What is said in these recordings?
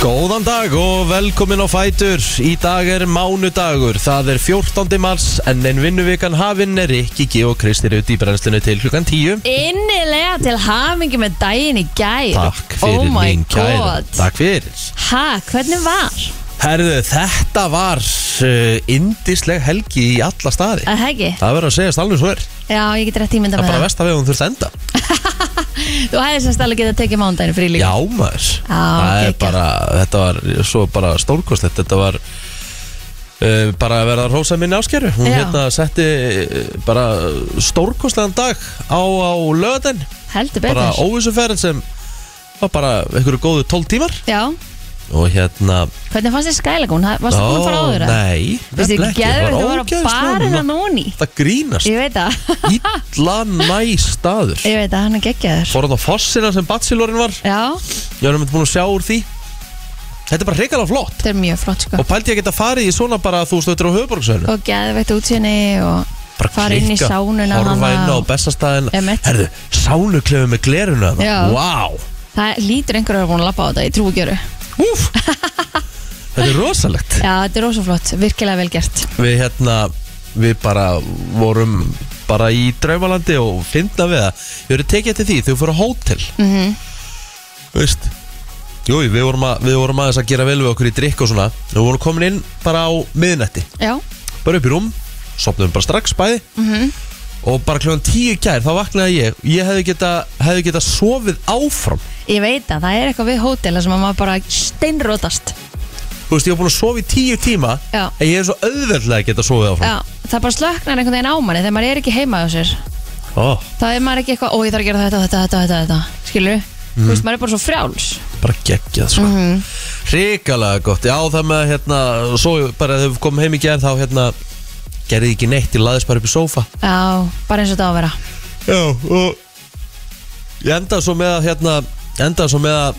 Góðan dag og velkomin á Fætur. Í dag er mánudagur, það er 14. mars en en vinnuvikan hafinn er Rikki G og Kristi Rutt í brennslinu til klukkan 10. Innilega til hamingi með daginn í gær Takk fyrir oh my mín kæra. god. Takk fyrir. Ha, hvernig var? Herðu, þetta var uh, indisleg helgi í alla staði. Er það ekki? Það verður að segja stálnum svo er. Já, ég get rétt ímynda Það er með bara það vest að við hún þurft að enda. Þú hefði semst alveg getað tekið mándaginn frí líka Já maður Það geggjað. er bara, þetta var svo bara stórkostlegt Þetta var uh, bara að vera að rósa minni áskeru Hún Já. hérna setti uh, bara stórkostlegan dag á, á löðin Heldur betur Bara óvissuferðin sem var bara einhverju góðu 12 tímar Já, Og hérna hvernig fannst þér skælagún? Varstu búin að fara ó, áður? eða? Nei, Veistu, nefnilega ekki. geðveikt, Ég þú var ógeðslega á barinn hérna. ánægð. að núni Það grínast Ég veit það, Ítla næ staður ég veit það, hann er geggjaður Fór hann á fossina sem bachelorinn var Já, Ég var nefnilega búin að sjá úr því Þetta er bara hreikala flott þetta er mjög flott sko Og pældi ég að geta farið í svona bara þú veist, þetta er á höfuborgsöðinu Og geðveitt útsýni og fara inn í sánuna Horfa hana inn á og- bestastæðin Einmitt. Herðu, sánuklefi með gleruna Já. það Vá, Það lítur einhverju að vera búin að labba á þetta, ég trúi gjöru úf Þetta er rosalegt Já, þetta er rosa flott, virkilega vel gert Við hérna, við bara vorum bara í draumalandi og finna við það Við erum tekið eftir því, þau fyrir á hótel mm Veist Júi, við vorum, að, við vorum aðeins að gera vel við okkur í drikk og svona Við vorum komin inn bara á miðnetti Já, bara upp í rúm sopnum bara strax bæði Mhm. og bara kljóðan tíu kær þá vaknaði ég ég hefði geta, hefði geta sofið áfram ég veit að það er eitthvað við hótela sem að maður bara steinrótast þú veist ég var búin að sofa í tíu tíma Já. en ég er svo auðveldlega að geta sofið áfram Já, það bara slöknar einhvern veginn á manni þegar maður er ekki heima á sér Ó, þá er maður ekki eitthvað, ó ég þarf að gera þetta, þetta, þetta, þetta, þetta. skilur, þú veist, maður er bara svo frjáls bara geggjað sko. mm Mhm. gott já það með hérna svo bara þegar við komum heim í gerð þá hérna gerði ég ekki neitt ég laðist bara upp í sófa Já, bara eins og þetta á að vera já og ég endaði svo með að hérna endaði svo með að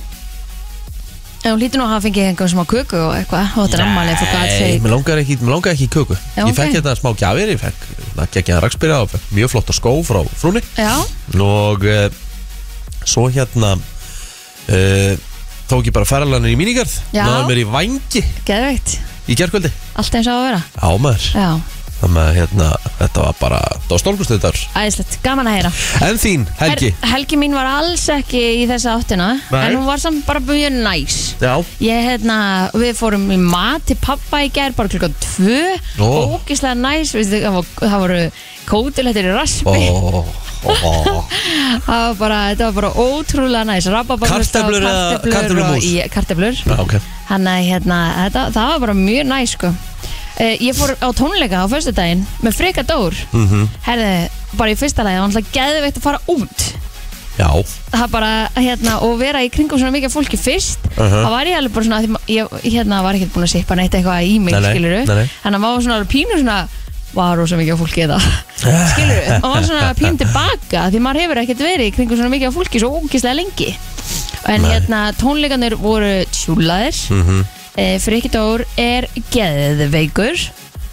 En hún lítur nú að hafa fengið einhvern smá köku og eitthvað og þetta er ammalið fyrir hvað Nei, mér langar ekki, mér langar ekki í köku Já, Ég fekk ok. hérna smá gjafir, ég fekk geggjaðan rakspyrja og fekk mjög flotta skó frá frúni Já, og e, svo hérna e, tók ég bara ferðalanir í mínigarð Já. náði mér í vangi geðveikt, í gerkvöldi allt eins og á að vera á maður, Já, þannig að hérna þetta var bara, þetta var stólkustöðar æðislegt, gaman að heyra En þín, Helgi Her, Helgi mín var alls ekki í þessa áttina Nei. en hún var samt bara mjög næs Já, Ég, hérna, við fórum í mat til pappa í gær, bara klukkan tvö Ó. Ógislega næs, veistu, það, var, það voru kótilettir í raspi ó, ó það var bara, Þetta var bara ótrúlega næs Rababarnast Kartöflur eða kartöflumús? Karteblur Já, ok Þannig að hérna, þetta, það var bara mjög næs sko. uh, Ég fór á tónleika á föstudaginn með freka dór mm Herði, bara í fyrsta lagi, það var alltaf geðveikt að fara út Já, það bara, hérna, og vera í kringum svona mikið af fólki fyrst Uh-huh. það var ég alveg bara svona, af því ma- ég, hérna var ekkert búin að sippa neitt eitthvað í mig, Nei, nei, skiluru nei, nei. þannig að maður var svona alveg pínu svona var rosa mikið af fólki eða skiluru, og maður var svona pínu tilbaka því maður hefur ekkert verið í kringum svona mikið af fólki svo ógislega lengi en Nei. Hm. hérna, tónleikanir voru tjúlaðir mm Mhm. -hmm. e, Frikidór er geðveikur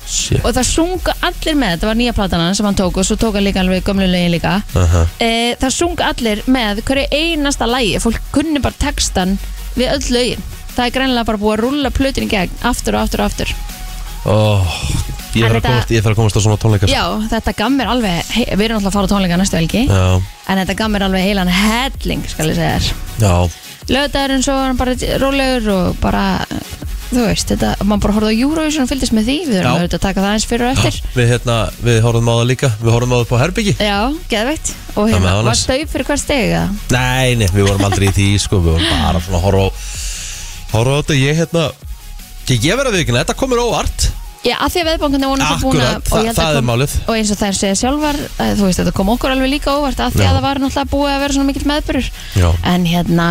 shit og það sungu allir með, þetta var nýja platan hans sem hann tók og svo tók hann líka alveg gömlulegin líka Aha. e, það sung allir með hverju einasta lægi, fólk kunni bara textan við öll lögin það er greinlega bara búið að rúlla plötin í gegn aftur og aftur og aftur Ó, Ég En þarf að þetta- komast- ég þarf að komast á svona tónleika sko. já, þetta gaf mér alveg, hei, við erum alltaf að fara á tónleika næstu helgi Já, en þetta gaf mér alveg heilan helling skal ég segja þér já lögdæðurinn svo var hann bara rólegur og bara þú veist, þetta, maður bara horfði á Eurovision og fylgdist með því, við erum Já. auðvitað að taka það eins fyrir og eftir Við hérna, við horfum á það líka Við horfum á það upp á herbyggi Já, geðveitt Og Það með hérna, ánæs. var staup fyrir hver steg eða? Nei, nei, við vorum aldrei í því, sko Við vorum bara svona að horfa á Horfa á þetta, ég hérna Ég, ég verð að viðkynna, þetta komur óvart Já, af því að veðbankandi voru náttúrulega búin Akkurat, að og þa ég held að það er kom- málið Og eins og þær segja sjálfar, eh, þú veist, þetta kom okkur alveg líka óvart af því Já. að það var náttúrulega búið að vera svona mikill meðbyrur Já. En hérna,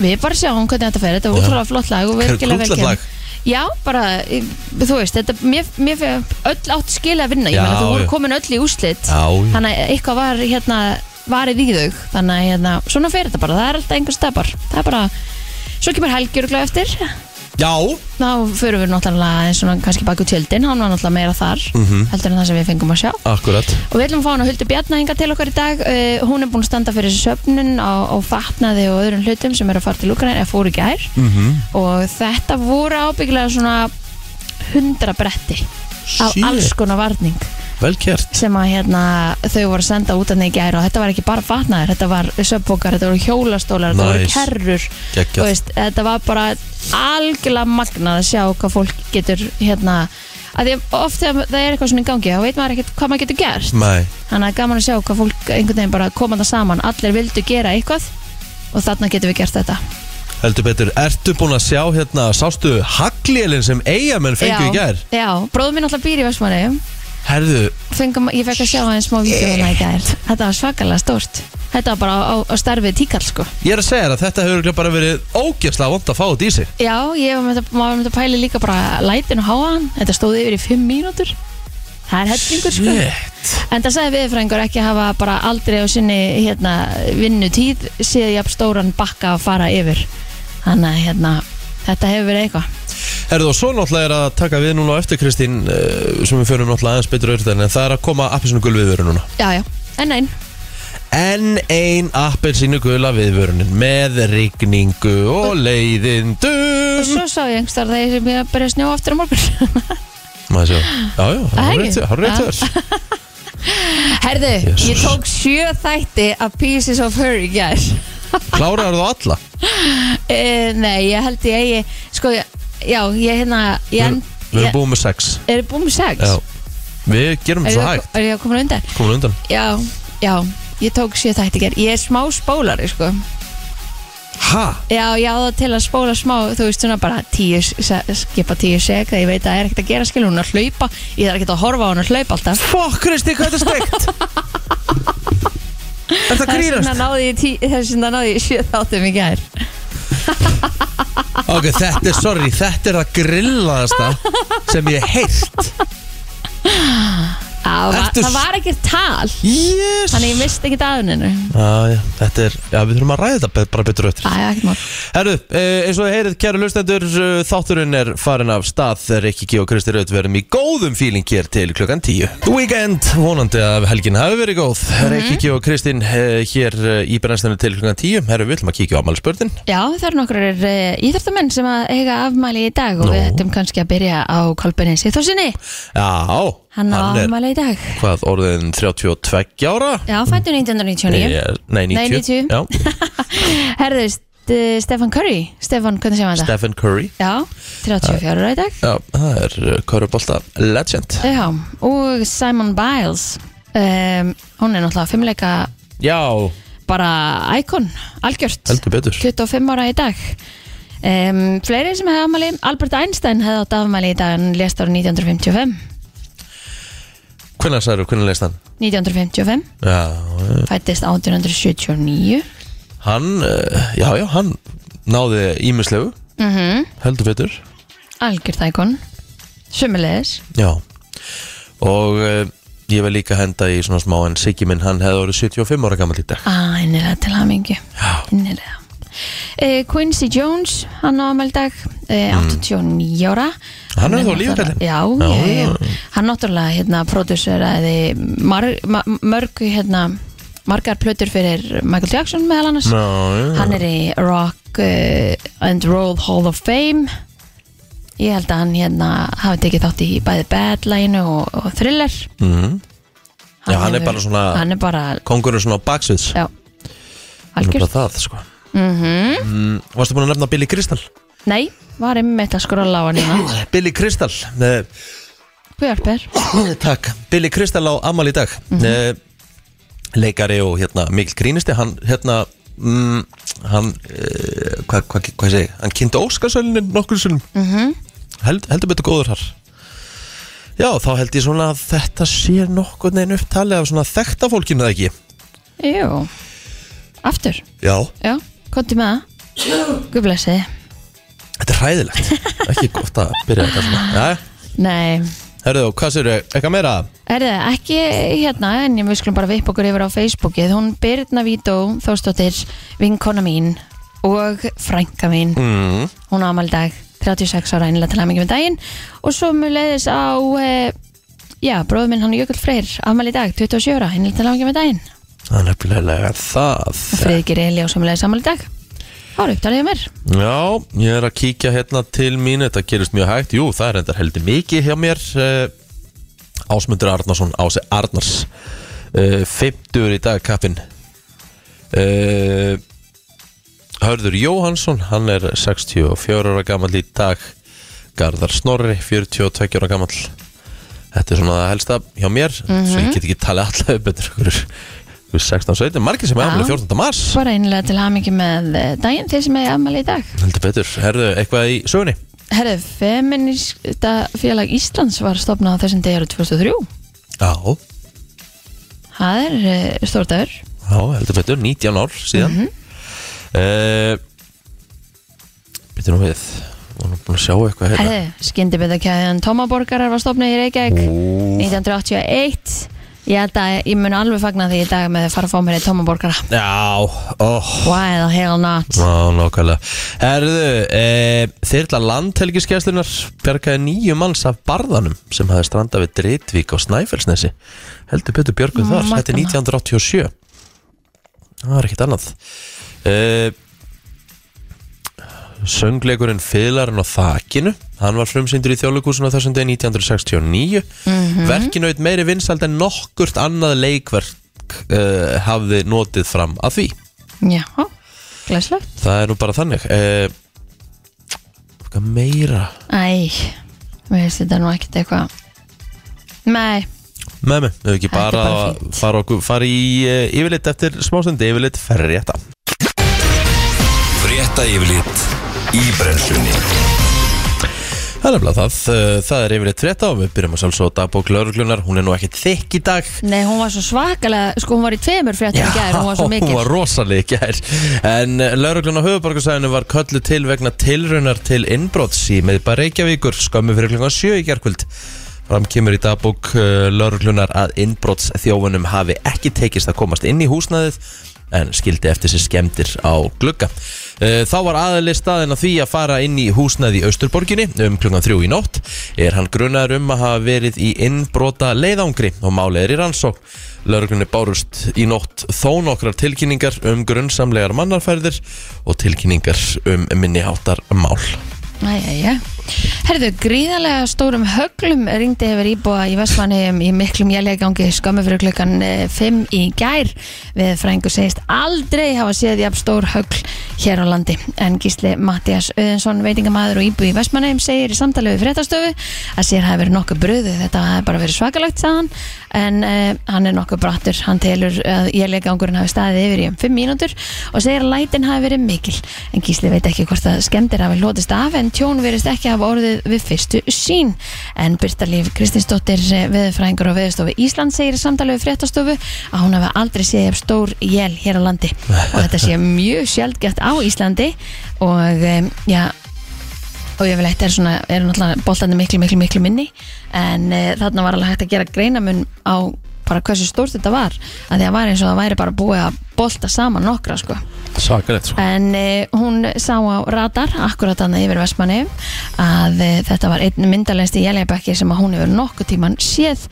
við bara sjáum hvernig þetta fer Þetta var Já. útrúlega flott lag og Hver- virkilega krúllett vel lag. kynnt Já, bara, eh, þú veist, þetta, mér, mér fyrir öll átt skil að vinna Ég Já, meina, þú já. voru komin öll í úslit Já, já. Þannig að eitthvað var, hérna, varið í þau Þannig að, hérna, svona fer þetta bara, það er alltaf einhver stafar Það er bara, svo kemur helgjörgla eftir Já, Þá förum við náttúrulega eins og kannski baku tjöldin, hann var náttúrulega meira þar Mhm. heldur en það sem við fengum að sjá akkurat og við ætlum að fá hann að huldu Bjarnahinga til okkar í dag uh, hún er búin að standa fyrir söfnun á, á fatnaði og öðrum hlutum sem eru að fara til Lúkran eða fóru í gær Mhm. og þetta voru ábyggilega svona hundra bretti af Shit. alls konar varning Vel kert sem að hérna, þau voru að senda út að í gær og þetta var ekki bara fatnaðir, þetta var söpbókar, þetta voru hjólastólar, þetta voru Nice. kerrur þú Geggjað veist, þetta var bara algjörlega magnað að sjá hvað fólk getur hérna, að því að oft þegar það er eitthvað svona í gangi þá veit maður ekkert hvað maður getur gert Nei, þannig að gaman að sjá hvað fólk einhvern veginn bara koma það saman, allir vildu gera eitthvað og þarna getum við gert þetta heldur betur Ertu búin að sjá hérna, sástu haglélinn sem eigamenn fengu í gær? Já, bróðum minn alltaf býr í Vestmanni Herðu, fengum, ég fekk að sjá aðeins smá vídeoðuna í gær þetta var svakalega stórt þetta var bara á, á starfið tíkall sko ég er að segja þér að þetta hefur örugglega bara verið ógjastlega vond að fá út í sig Já, ég var með þetta, maður myndi að pæli líka bara lætin og háan, þetta stóði yfir í fimm mínútur það er hellingur sko Shit. En það sagði viðfrængur ekki hafa bara aldrei á sinni hérna, vinnu tíð séð jafn stóran bakka að fara yfir þannig að hérna, þetta hefur verið eitthvað Herðu og svo náttúrulega er að taka við núna á eftir Kristín uh, sem við förum náttúrulega aðeins betur auðvitað en það er að koma appisinu gul viðvörun núna Já, já, en nein, Enn ein appelsínu gula viðvörunin með rigningu og og leiðindum svo sá ég einhvers þar þegar ég að byrja að snjóa aftur á morgun Maður sjá, jájú, Það hann er rétt ekki. hjá- hann rétt hjá þér Herðu, Jesús. ég tók sjö þætti af Pieces of Her í gær Kláraður þú alla? e, Nei, ég held ég eigi sko, já, ég hérna ég, en, Við ég, erum búin með sex er búin með sex? Já, við gerum er, svo ég, hægt er ég að koma undan? Komum undan Já, já, ég tók sjö þætti í gær Ég er smá spólari, sko Ha? Já, ég á það til að spóla smá, þú veist, svona bara tíu, se- skipa tíu seg þegar ég veit að það er ekkert að gera skil, hún er að hlaupa ég þarf ekkert að horfa á hún að hlaupa alltaf Fuck Kristi, hvað er þetta steikt? er það er svona grínast? náði ég tí- það er svona náði ég sjö þáttum í gær Ok, þetta er, sorry, þetta er það grillaðasta sem ég hef heyrt Á, va, Ertu Það s- var ekkert tal Yes Þannig ég misti ekkert aðuninu Já, já, þetta er, já, við þurfum að ræða þetta be- bara betur öll Það er ekkert mál Herru, eh, eins og þið heyrið, kæru lustendur, þátturinn er farin af stað þegar Rikki G og Kristi Raut verðum í góðum fíling hér til klukkan 10. Weekend, vonandi að helgin hafi verið góð. Mm Mhm. Rikki G og Kristin eh, hér eh, í brennstæðinu til klukkan 10. Herru, við ætlum að kíkja á ammalspörðin. Já, það eru nokkur uh, íþjóftamenn sem að eiga afmæli í dag og Nú. við ættum kannski að byrja á Kolbinni Sýþórsinni Já, Hann á er, afmæli í dag hvað, orðin 32 ára? Já, fættu 1999 Eh, Nei, 90. Nei, 90. Já, Herðu, St- Stefan Curry Stefan, hvernig séum við þetta? Stephen Curry. Já, 34 ára í dag Já, það er Körubolta legend. Já, og Simon Biles um, Hún er náttúrulega fimmleika Já, bara íkon, algjört heldur betur. 25 ára í dag um, Fleiri sem hefði afmæli Albert Einstein hefði átt afmæli í dag en lést ára 1955 Hvernig sagður, hvernig leist hann? 1955, Já, já. fættist 1879 Hann, eh, já, já, hann náði ímislegu, mm heldur betur Algjört íkon Sumulegis Já Og uh, ég vil líka henda í svona smá En Siggi minn, hann hefði orðið 75 ára gammal í dag Ah, innilega til hamingju Já. Innilega Eh, Quincy Jones, hann á amal dag eh, 89 ára Mm. Hann er þó á lífi, náttúrulega- kallinn. Já, Já, já, já. já Hann náttúrulega, hérna, prodúseraði mar- ma- mörg, hérna margar plötur fyrir Michael Jackson meðal annars Já, já, Hann er í Rock uh, and Roll Hall of Fame Ég held að hann hérna hafi tekið þátt í bæði Bad Line og, og Thriller Mhm. Já, hann er hefur- bara svona- Hann er bara, Kongurinn svona á baksviðs já Mhm. Hann er Algjört bara það, sko mm, Varstu búin að nefna Billy Crystal? Nei, var einmitt að skrolla á hann hérna Billy Crystal eh, Hvað hjálpar? Takk, Billy Crystal á Amal í dag eh, Leikari og hérna Mikl Grínisti, hann hérna mm, Hann, eh, hvað hva, hva, hva segi ég? Hann kynnti Óskarsölunin nokkur sinnum Mhm. Held, Heldur betur góður þar Já, þá held ég svona að þetta sé nokkur neginn upptali af svona þekta fólkinu það ekki Jú Aftur, Já já, konti með það Guð blessi Þetta er hræðilegt, ekki gott að byrja þetta svona Já, Nei, herðu, hvað sér eitthvað meira? er það ekki hérna En ég við skulum bara vipp okkur yfir á Facebookið Hún Birna Vító, Þórsdóttir Vinkona mín og frænka mín Mm. Hún á amal dag 36 ára einlega til hamingi með daginn og svo mjög leiðis á eh, já, bróður minn hann Jökull Freyr afmæli í dag, 27 ára, einlega til hamingi með daginn Það er nefnilega það og Friðgir Eli á sömulegis afmæli í dag Það eru upptalið hjá mér Já, ég er að kíkja hérna til mín Þetta gerist mjög hægt, jú, það er endar heldur mikið hjá mér Eh, Ásmundur Arnarsson, Ási Arnars uh, 50 í dag kappinn uh, Hörður Jóhansson Hann er 64 ára gamall í dag Garðar Snorri 42 ára gamall Þetta er svona það helsta hjá mér Svo ég get ekki talið alltaf upp Þetta er einhverjur- einhverjur 16-17 Margir sem er Já. afmæli 14. mars Bara einlega til hamingi með eh, daginn þeir sem er afmæli í dag Heldur betur, herðu eitthvað í sögunni Herðu, Feminista félag Íslands var stopnað á þessum degi árið 2003. Já, Það er uh, stórtaður. já, heldur betur, 19 ár síðan mm -hmm. Býtum nú við Við erum búin að sjá eitthvað hérna Herðu, skyndibindakæðan Tómaborgarar var stopnað í Reykjavík 1981. Ég held að ég mun alveg fagna því í dag með að fara að fá mér í Tómaborgara. Já, ó, Why the hell not? já, nákvæmlega Herðu, e, þyrla landhelgiskeslunar bjargaði nýju manns af barðanum sem hafði strandað við Dritvík á Snæfellsnesi Heldur betur björgum þar, þetta er Magnað. 1987 Það var ekkert annað e, söngleikurinn Fylarinn á þakinu hann var frumsyndur í þjóðleikúsinu á þessum degi 1969 mm -hmm. verkinu eitt meiri vinsald en nokkurt annað leikverk uh, hafði notið fram að því Já, glæslegt. það er nú bara þannig uh, hvað meira Æ, mér finnst þetta nú ekkert eitthvað. Nei, með mig, ef ekki Þetta er bara, bara að fara, okkur, fara í uh, yfirleitt eftir smástundi yfirleitt ferri rétta Frétta yfirlit í brennslunni Það er nefnilega það, eh, það er yfirleitt frétta og við byrjum að sjálfsögða dagbók lauruglunar, hún er nú ekkert þykk í dag nei, hún var svo svakalega, sko hún var í tveimur fréttum í gær, hún var svo mikil. hún var rosalega í gær En lauruglun á höfuborgarsæðinu var köllu til vegna tilraunar til innbrots í miðbæ Reykjavíkur skömmu fyrir klungan sjö í gærkvöld Fram kemur í dagbók lauruglunar að innbrots þjófunum hafi ekki tekist að komast inn í húsnaðið en skildi eftir sér skemmtir á glugga. Eh, Þá var aðalið staðin að því að fara inn í húsnaði í Austurborginni um klungan þrjú í nótt. Er hann grunaður um að hafa verið í innbrota leiðangri og málið er í rannsók. Lörglunni bárust í nótt þó nokkrar tilkynningar um grunnsamlegar mannarferðir og tilkynningar um minniháttar mál. Æjæjæ. Herðu, gríðarlega stórum höglum ringdi hefur íbúa í Vestmanheim í miklum jæljagangi skömmu fyrir klukkan 5 í gær. Við frængu segist aldrei hafa séð jafn stór högl hér á landi. En gísli Mattias Öðinsson, veitingamæður og íbúi í Vestmanheim segir í samtali við fréttastöfu að sér hafi verið nokkuð bröðu. Þetta hafi bara verið svakalagt, sagðan. En eh, hann er nokkuð brattur. Hann telur að jæljagangur hafi staðið yfir í um 5 mínútur og segir að lætin hafi verið mikil en Gísli veit ekki hvort að skemmtir hafi hlotist af en tjón verist ekki hafa orðið við fyrstu sín en Birta Líf Kristinsdóttir eh, veðurfræðingur og veðurstofu Ísland segir í samtalið við fréttastofu að hún hafi aldrei séð ef stór jél hér á landi og þetta sé mjög sjaldgæft á Íslandi og um, já og yfirleitt er svona, eru náttúrulega boltandi miklu, miklu, miklu minni en e, þarna var alveg hægt að gera greinamun á bara hversu stórt þetta var að því að var eins og það væri bara búið að bolta saman nokkra sko Svakalegt sko. en e, hún sá á radar akkurat annað yfir Vestmanni að e, þetta var einn myndalegsti jæljabekkir sem að hún hefur nokkuð tíman séð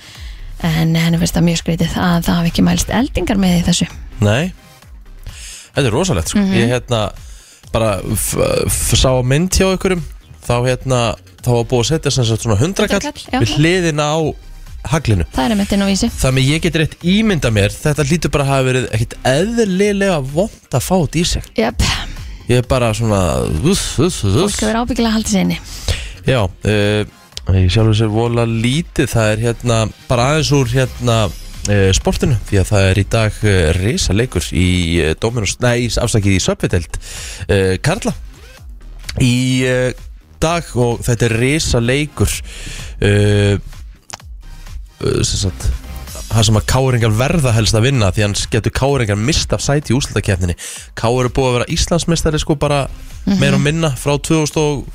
en henni finnst það mjög skrítið að það hafi ekki mælst eldingar með í þessu Nei, þetta er rosalegt sko. Ég hérna bara f- f- sá mynd hjá ykkurum þá hérna, þá var búið að setja sem sagt svona hundrakall Hundrakall, já. við hliðina á haglinu. það er einmitt inn á vísi Þannig að ég get rétt ímynda mér, þetta hlýtur bara að hafa verið ekkit eðlilega vond að fá þetta í sig. Jöp, Ég er bara svona, uff, uff, uff, fólk hefur ábyggilega haldið sér inni Já, uh, ég sjálfur sér vola lítið, það er hérna bara aðeins úr hérna uh, sportinu því að það er í dag uh, risa leikur í uh, Dominus, nei, afsakið í Söpvideld, uh, Karla í uh, dag og þetta er risa leikur uh, uh, sem sagt það sem að Káringar verða helst að vinna því hans getur Káringar mista sæti í úslutakefninni Kár eru búið að vera Íslandsmeistari sko bara meira og minna frá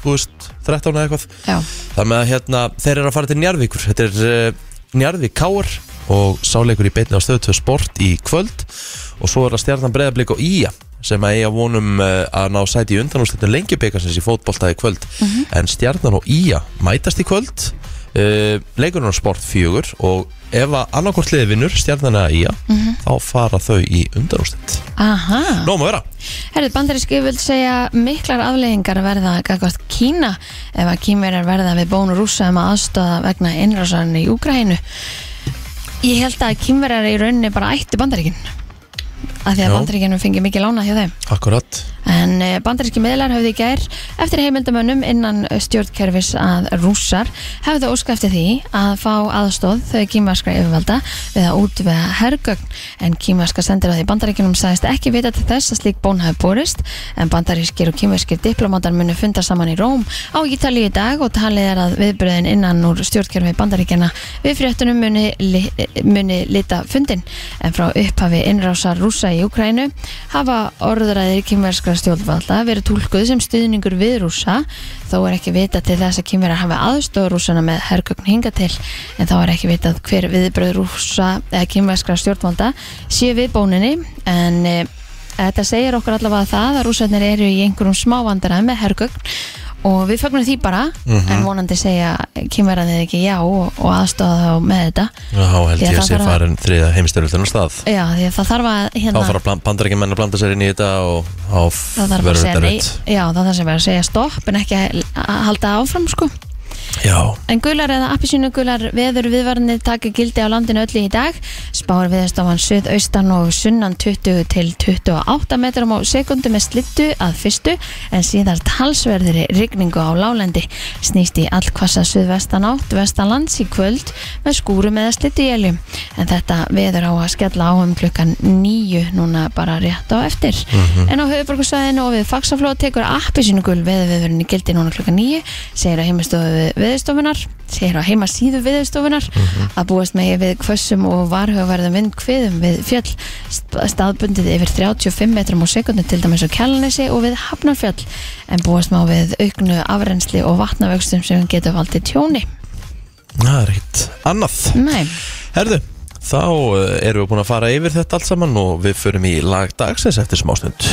2013 eða eitthvað Já, þar með að hérna þeir eru að fara til Njarðvíkur þetta er uh, Njarðvík Káar og sáleikur í beinni á stöðu 2 sport í kvöld og svo er það stjarnan breyðablík og Ía sem að eiga vonum eh, að ná sæti í undanúrslitin lengjubikarsins í fótbolta í kvöld en stjarnan og Ía mætast í kvöld uh, leikurinn á sport fjögur og ef að annarkort liði vinnur stjarnan að Ía þá fara þau í undanúrslit Aha. Nóma vera Herrið, bandarísk yfirvöld segja miklar afleiðingar verða gagvart Kína ef að kýmverjar verða við bónu rúsa um að aðstöða vegna innrásarinn í Úgrænu. Ég held að kýmverjar í rauninni bara ættu bandaríkin af því að Já. bandaríkinum fengi mikið lána hjá þeim. Akkurat En eh, bandaríski miðlar höfðu í gær eftir heimildamönnum innan eh, stjórnkerfis að rússar hefðu óska eftir því að fá aðstóð þau kýmarskra yfirvalda við að útvega hergögn en kýmarska sendir að því bandaríkinum sagðist ekki vita til þess að slík bón hafi borist en bandarískir og kýmarskir diplomatar munu funda saman í Róm á Ítalíu í dag og talið er að viðbröðin innan úr stjórnkerfi bandaríkjana við fréttunum muni, li- muni lita fundin en frá upphafi innrásar rúsa í Ukrænu hafa orðræðir kymverskra stjórnvalda verið tólkuð sem stuðningur við rúsa þó er ekki vita til þess að kymverar hafa aðstofa rúsana með hergögn hinga til en þá er ekki vitað hver viðbröð rúsa eða kymverskra stjórnvalda sé við bóninni en e, þetta segir okkur allavega það að rúsarnir eru í einhverjum smávandara með hergögn og við fagnum því bara en vonandi segja kymverarnir ekki já og, og aðstofa þá með þetta Já, Því held að ég að það sé þarf að- farin þriða heimstyrjöldinu stað Já, því að það þarf að Þá hérna, fara bandarækjum menn að blanda sér inn í þetta og þá það þarf að verður segja þetta nei, rödd já, það þarf sem verður að segja stopp en ekki að að halda áfram sko Já, En gular eða appisínu gular veður viðvarnir taka gildi á landinu öllu í dag. Spáir viðastofan suðaustan og sunnan 20 til 28 metrum á sekundu með slittu að fyrstu en síðar talsverðri rigningu á lálendi. Snýst í allkvassa suðvestan átt vestanlands í kvöld með skúrum eða slittu éljum. En þetta veður á að skella á um klukkan 9 núna bara rétt á eftir. En á höfuborgarsvæðinu og við faksaflóð tekur appisínu gul veðurviðurinn í gildi núna klukkan 9 segir á heimastofu viðstofunar segir á heimasíðu viðstofunar að búast megi við hvössum og varhugaverðum vindkviðum við fjöll st- staðbundið yfir 35 metrum á sekundu til dæmis á Kjalanesi og við Hafnarfjöll en búast má við auknu afrensli og vatnavöxtum sem getur valdið tjóni það er ekkert annað Nei, Herðu, þá eh, erum við búin að fara yfir þetta allt saman og við förum í lag dagsins eftir smástund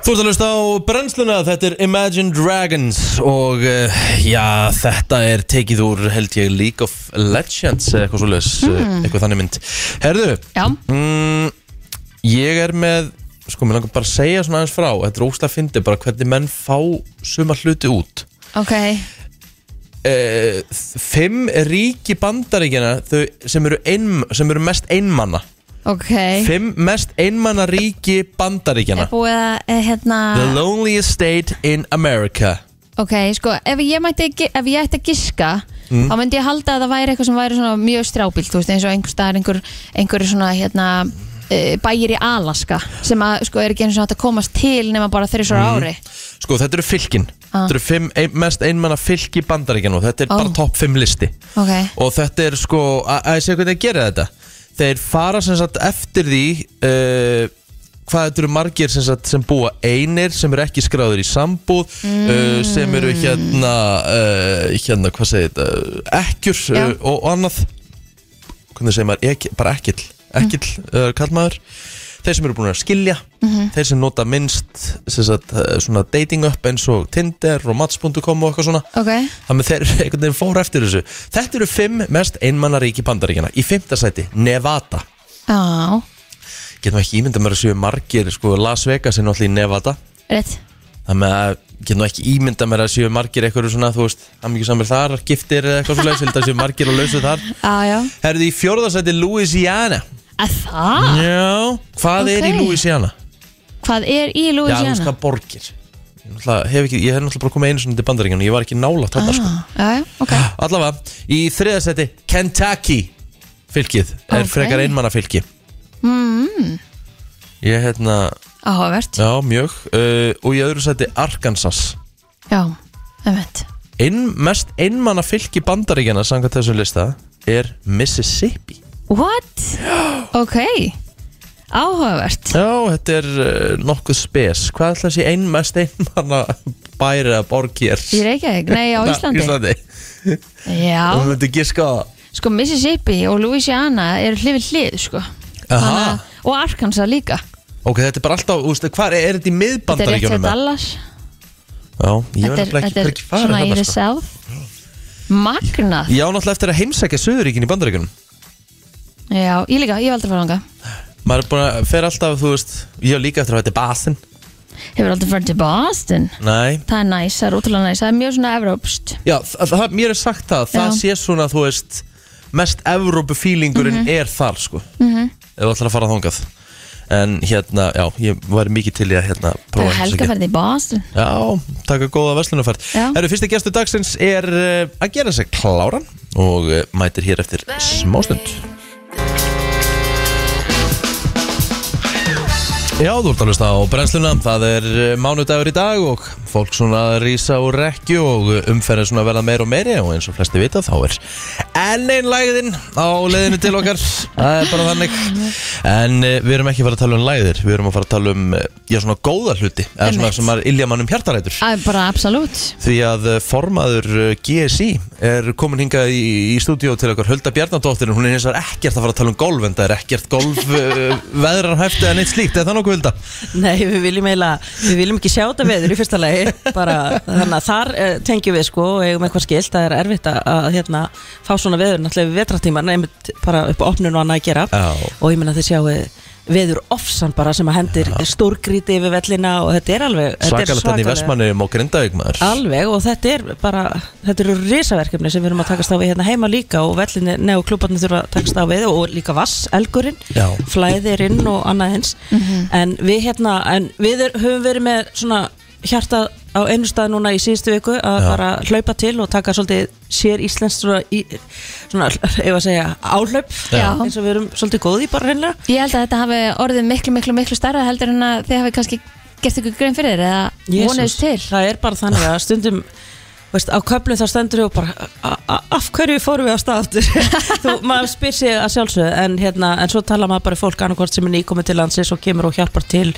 Þú ert að hlusta á brennsluna, þetta er Imagine Dragons og uh, já, þetta er tekið úr held ég League of Legends eða eitthvað svoleiðis, Hmm. mm. eitthvað þannig mynd Herðu, já, mm, ég er með, sko, mér langar bara að segja svona aðeins frá, þetta er óslega fyndið bara hvernig menn fá suma hluti út ok uh, Fimm ríki bandaríkjana þau sem eru, ein, sem eru mest einmanna ok, Fimm mest einmanna ríki bandaríkjana er búið að eh, hérna The loneliest state in America Ok, sko, ef ég, mætti, gi- ef ég ætti að giska þá myndi ég halda að það væri eitthvað sem væri svona mjög strábílt, þú veist, eins og einhver staðar einhver, einhver svona, hérna eh, bæir í Alaska, sem að, sko, er ekki eins og hægt að komast til nema bara þeirri svara ári Sko þetta eru fylkin Ah. Þetta eru fimm, ein, mest einmanna fylki bandaríkjana og þetta er Ó. bara topp fimm listi Ok, Og þetta er sko, að að ég sé hvernig að gera þetta Þeir fara sem sagt eftir því uh, Hvað þetta eru margir sem sagt sem búa einir Sem eru ekki skráður í sambúð uh, Sem eru hérna, uh, hérna, hvað segir þetta Ekkjur Já. uh, og, og annað Hvernig segir maður, Ek, bara ekkill Ekkill, uh, kallmaður Þeir sem eru búin að skilja Þeir sem nota minnst sem sagt, uh, svona dating up eins og Tinder og Mats.com og eitthvað svona ok, Þannig að þeir einhvern veginn fóru eftir þessu Þetta eru fimm mest einmanna ríki bandaríkjana Í fimmta sæti, Nevada já, Getum ekki ímyndað mér að séu margir sko, Las Vegas er náttúrulega í Nevada rétt Þannig að getum ekki ímyndað mér að séu margir Eitthvað svona, þú veist, hamingjusamir þar Giftir eða eitthvað svoleiðis, held að séu margir að lausu þar Já, já, Herðu í fjórða sæti, Louisiana að það, Já, hvað er í Ok. Louisiana? hvað er í Já, þú veist Louisiana? hvað borgir Ég náttúrulega hef ekki, ég hef náttúrulega bara komið einu svona til bandaríkjana Ég var ekki nála þarna sko ah, Já, já, ok, Allavega, í þriðasetti Kentucky fylkið er Ok. Mm-hmm. frekar einmanna fylki mm. Ég hérna, áhugavert já mjög uh, og í öðru seti Arkansas Já, einmitt Ein, mest einmanna fylki bandaríkjana samkvæmt þessum lista er Mississippi What? Ok, áhugavert Já, þetta er uh, nokkuð spes Hvað ætla að sé ein mest einmanna bæri að borg hér? Í Reykjavík, nei, á Íslandi Íslandi Já, Þú myndir giska á það sko Mississippi og Louisiana eru hlið við hlið sko Aha. Þannig að- og Arkansas líka Ok, þetta er bara alltaf, úst, hvað er, er þetta Þetta er rétt í fyrir miðbandaríkjunum? Dallas Já, ég Þetta var er, nefnilega ekki, þetta er hvergi farið svona í þarna the sko. south Magnað Ég á náttúrulega eftir að heimsækja Suðuríkin í bandaríkjunum Já, ég líka, ég hef aldrei farið langa Maður er búin að fer alltaf, þú veist Ég á líka eftir að þetta er Basin Hefur aldrei farið til Boston Nei Það er næs, það er útrúlega næs, það er mjög svona evrópst Já, það, það, mér er sagt það, það Já. sé svona, þú veist Mest Evrópu fílingurinn er þar, sko Mhm. Ef þú ætlar að fara þangað En hérna, já, ég væri mikið til í að hérna Það prófa er heimsækja. helgaferði í Boston Já, taka góða verslunarfært Já. Herru, fyrsti gestur dagsins er eh, að gera sig kláran og eh, mætir hér eftir smástund Já, þú ert að hlusta á brennsluna Það er eh, mánudagur í dag og fólk svona að rísa úr rekju og umferðin svona að verða meira og meiri og eins og flesti vita þá er enn einn lægðin á leiðinu til okkar Það er bara þannig En eh, við erum ekki að fara að tala um lægðir Við erum að fara að tala um, eh, já, svona góða hluti eða svona Einmitt. sem er ilja mannum hjartarætur Það er bara absolutt Því að eh, formaður eh, GSI er komin hingað í, í stúdíó til okkur Hulda Bjarnadóttir en hún er eins og ekkert að fara að tala um golf en það er ekkert golf uh, veðranhæft eða neitt slíkt, er það nokkuð Hulda? Nei, við viljum eiginlega, við viljum ekki sjá þetta veður í fyrsta lagi, bara þannig að þar eh, tengjum við sko og eigum eitthvað skilt, það er erfitt að, að hérna fá svona veður náttúrulega við vetratíman, einmitt bara upp á opnun og annað að gera Já. og ég menna þið sjáu veður ofsan bara sem að hendir stórgríti yfir vellina og þetta er alveg, þetta er Svakalegt hann í svakalega- Vestmanniðum og Grindavík maður Alveg og þetta er bara, þetta eru risaverkefni sem við erum að takast á við hérna heima líka og vellinni og klúbarnir þurfa að takast á við og líka vass, elgurinn, Já. flæðirinn og annað eins en við hérna, en við er, höfum verið með svona hjarta á einu stað núna í síðustu viku að Já. bara hlaupa til og taka svolítið sér íslenskt svona, í, svona ef að segja, áhlaup Já. eins og við erum svolítið góð í bara hreinlega Ég held að þetta hafi orðið miklu, miklu, miklu starra heldur en að þið hafi kannski gert ykkur grein fyrir þér eða vonuðist til það er bara þannig að stundum veist, á köflum þá stendur við og bara a- a- af hverju fórum við á stað aftur þú, maður spyr sig að sjálfsögðu en, hérna, en svo tala maður bara við fólk annarkvort sem er nýkomið til landsins og kemur og hjálpar til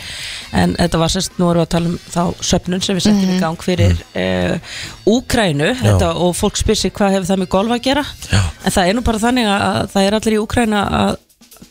en þetta var sérst, nú erum við að tala um þá söpnun sem við settum í gang fyrir uh, Úkrænu þetta, og fólk spyr sig hvað hefur það með golf að gera Já. en það er nú bara þannig að, að það er allir í Úkræna að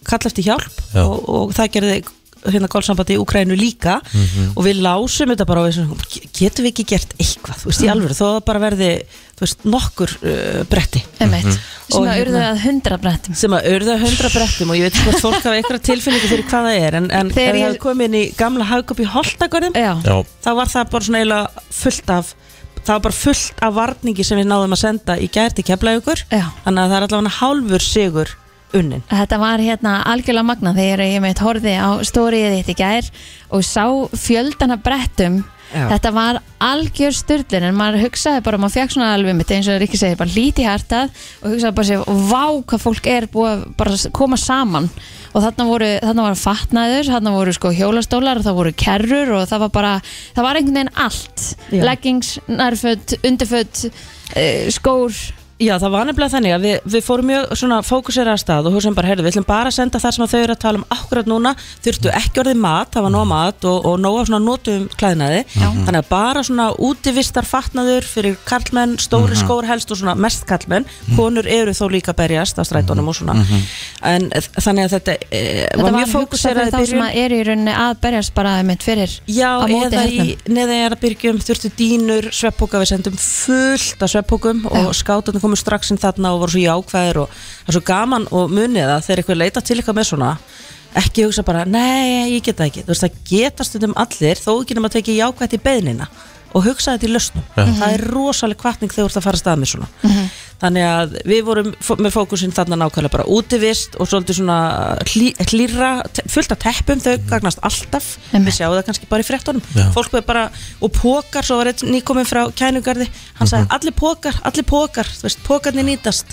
kalla eftir hjálp Já. og, og það gerði hérna golfsambandi í Ukrænu líka Mhm. og við lásum þetta bara og við sem, getum við ekki gert eitthvað, þú Mhm. veist, í alvöru þó að það bara verði, þú veist, nokkur uh, bretti Einmitt, sem Og að hérna- urðu að hundra brettum sem að urða hundra brettum og ég veit ekki hvort fólk hafa einhverja tilfinningu fyrir hvað það er en, en Þegar þegar ég- ég hafði komið inn í gamla hagkjöp í Holtagörðum Já, Já, þá var það bara svona eiginlega fullt af það var bara fullt af varningi sem við náðum að senda í gærti keflaugur Já. þannig að það er allavega hálfur sigur unnin Þetta var hérna algjörlega magna þegar ég meitt horfið á stóriðið þitt í gær og sá fjöldana brettum Já. Þetta var algjör styrlin en maður hugsaði bara, maður fekk svona alveg mitt eins og Ríkki segir, bara líti hjartað og hugsaði bara sér, vá hvað fólk er búið að bara s- koma saman og þarna voru, þarna var fatnaður þarna voru sko hjólastólar og það voru kerrur og það var bara, það var einhvern veginn allt, Já. leggings, nærföt undirföt, eh, skór Já, það var nefnilega þannig að við, við fórum mjög svona fókusera að stað og hugsaðum bara, heyrðu, við ætlum bara að senda það sem að þau eru að tala um akkurat núna, þurftu ekki orðið mat, það var nóg af mat og, og nóg af svona notum klæðnaði, þannig að bara svona útivistar fatnaður fyrir karlmenn, stóri Mhm. skór helst og svona mest karlmenn, konur eru þó líka að berjast á strætónum og svona, en þannig að þetta e, Mhm. Þetta var, var mjög hugsað fókusera fyrir þá sem að eru í rauninni að berjast bara einmitt fyrir Já, á móti hérna. eða í hernum. neðanjarðarbyrgjum um, þurftu dínur, svepphóka, við sendum fullt af svepphókum og skátarnir komu strax inn þarna og voru svo jákvæðir og það er svo gaman og munið að þegar eitthvað leita til eitthvað með svona ekki hugsa bara, nei, ég geta það ekki þú veist, það geta stundum allir þó ekki nema að teki jákvætt í beðnina og hugsa þetta í lausnum, það er rosaleg kvartning þegar þú ert að fara af stað með svona Mhm. þannig að við vorum fó- með fókusinn þarna nákvæmlega bara útivist og svolítið svona hlý, hlýra fullt af teppum, þau gagnast alltaf Einmitt. við sjáum það kannski bara í fréttunum Já. fólk er bara, og pókar, svo var einn nýkominn frá kænugarði, hann sagði allir pókar, allir pókar, þú veist, pókarnir nýtast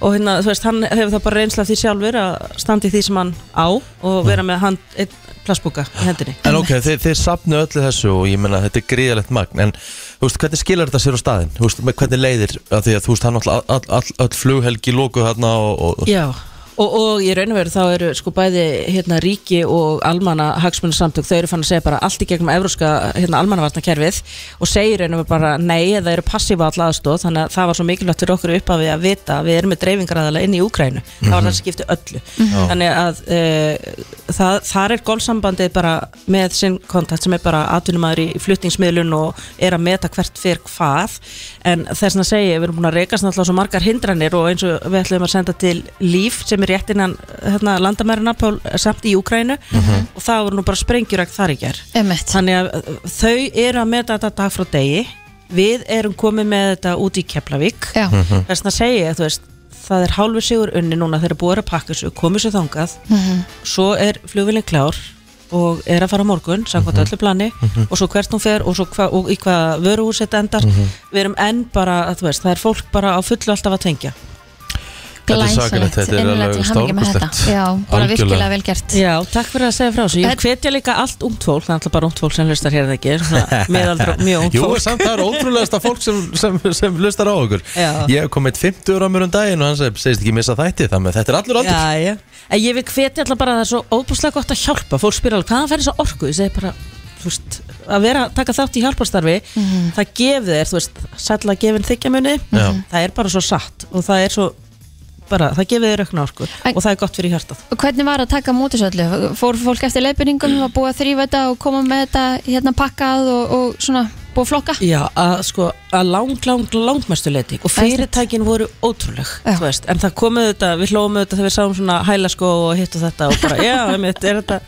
og hérna, þú veist, hann hefur það bara reynsla af því sjálfur að standa í því sem hann á og vera með hann, einn plassbúka í hendinni en ok, þið, þið sapnu öllu þessu og ég menna þetta er gríðalegt magn en þú veist, hvernig skilur þetta sér á staðinn? Þú veist, með hvernig leiðir að því að þú veist, hann alltaf all, all, all, all flughelgi lókuð þarna og, og Já, og, og í raun og veru þá eru sko bæði hérna, ríki og almanna hagsmunarsamtök, þau eru fann að segja bara allt í gegnum evróska hérna, almannavarnakerfið og segir raun og veru bara nei eða eru passífa all aðstóð, þannig að það var svo mikilvægt fyrir okkur upp af því að vita að við erum með dreifingaræðala inn í Úkrænu, það var það sem skipti öllu þannig að e, það, þar er golfsambandið bara með sinn kontakt sem er bara atvinnumæður í fluttingsmiðlun og er að meta hvert fyrir hvað en þess að segja, við erum búin að reikast náttúrulega svo margar hindranir og eins og við ætlum að senda til líf sem er rétt innan hérna, landamæruna pól, samt í Úkrænu og það voru nú bara sprengjurakt þar í gerð Emmett þannig að eh, þau eru að meta þetta dag frá degi við erum komið með þetta út í Keflavík Já, Hm. þess að segja, þú veist það er hálfur sigur unni núna þegar búið er að pakka þessu komið sér þangað, Mhm. svo er flugvillin klár og er að fara á morgun samkvæmt Mhm. öllu plani og svo hvert hún fer og, svo hva, og í hvað vöruhús þetta endar Mhm. við erum enn bara, þú veist, það er fólk bara á fullu alltaf að tengja Þetta er glæsilegt. svakalegt, þetta er Innilega alveg til hamingju með þetta. stórkostlegt. Já, bara Algjörlega. virkilega vel gert Já, takk fyrir að segja frá þessu ég En- hvetja líka allt ungt fólk, það er alltaf bara ungt fólk sem hlustar hér en ekki, svona meðaldra mjög ungt Jú, fólk samt það er ótrúlegasta fólk sem, sem, sem lustar á okkur Já. Ég hef komið 50 ára mjög um daginn og hann seg- segist ekki missa þætti þannig að þetta er allur aldur Já, já. En ég vil hvetja alltaf bara að það er svo óbúslega gott að hjálpa. Fólk spyr alveg, hvaðan fær þess að orku? Ég segi bara, þú veist, að vera að taka þátt í hjálparstarfi, það gefið þér, þú veist, sætla gefin þykjamunni, Já. það er bara svo satt og það er svo, bara, það gefið þér aukna orku En- og það er gott fyrir hjartað. Og Hvernig var að taka mútis öllu? Fór fólk eftir leifinningum, var búið að þrýfa þetta og koma með þetta hérna pakkað og, og svona búið að flokka? Já, að sko, að lang, lang, langmestu leiti og fyrirtækin voru ótrúleg, Já. þú veist, en það komuð þetta, við hlóðum þetta þegar við sáum svona hæla sko og hitt og þetta og bara, já, einmitt, er þetta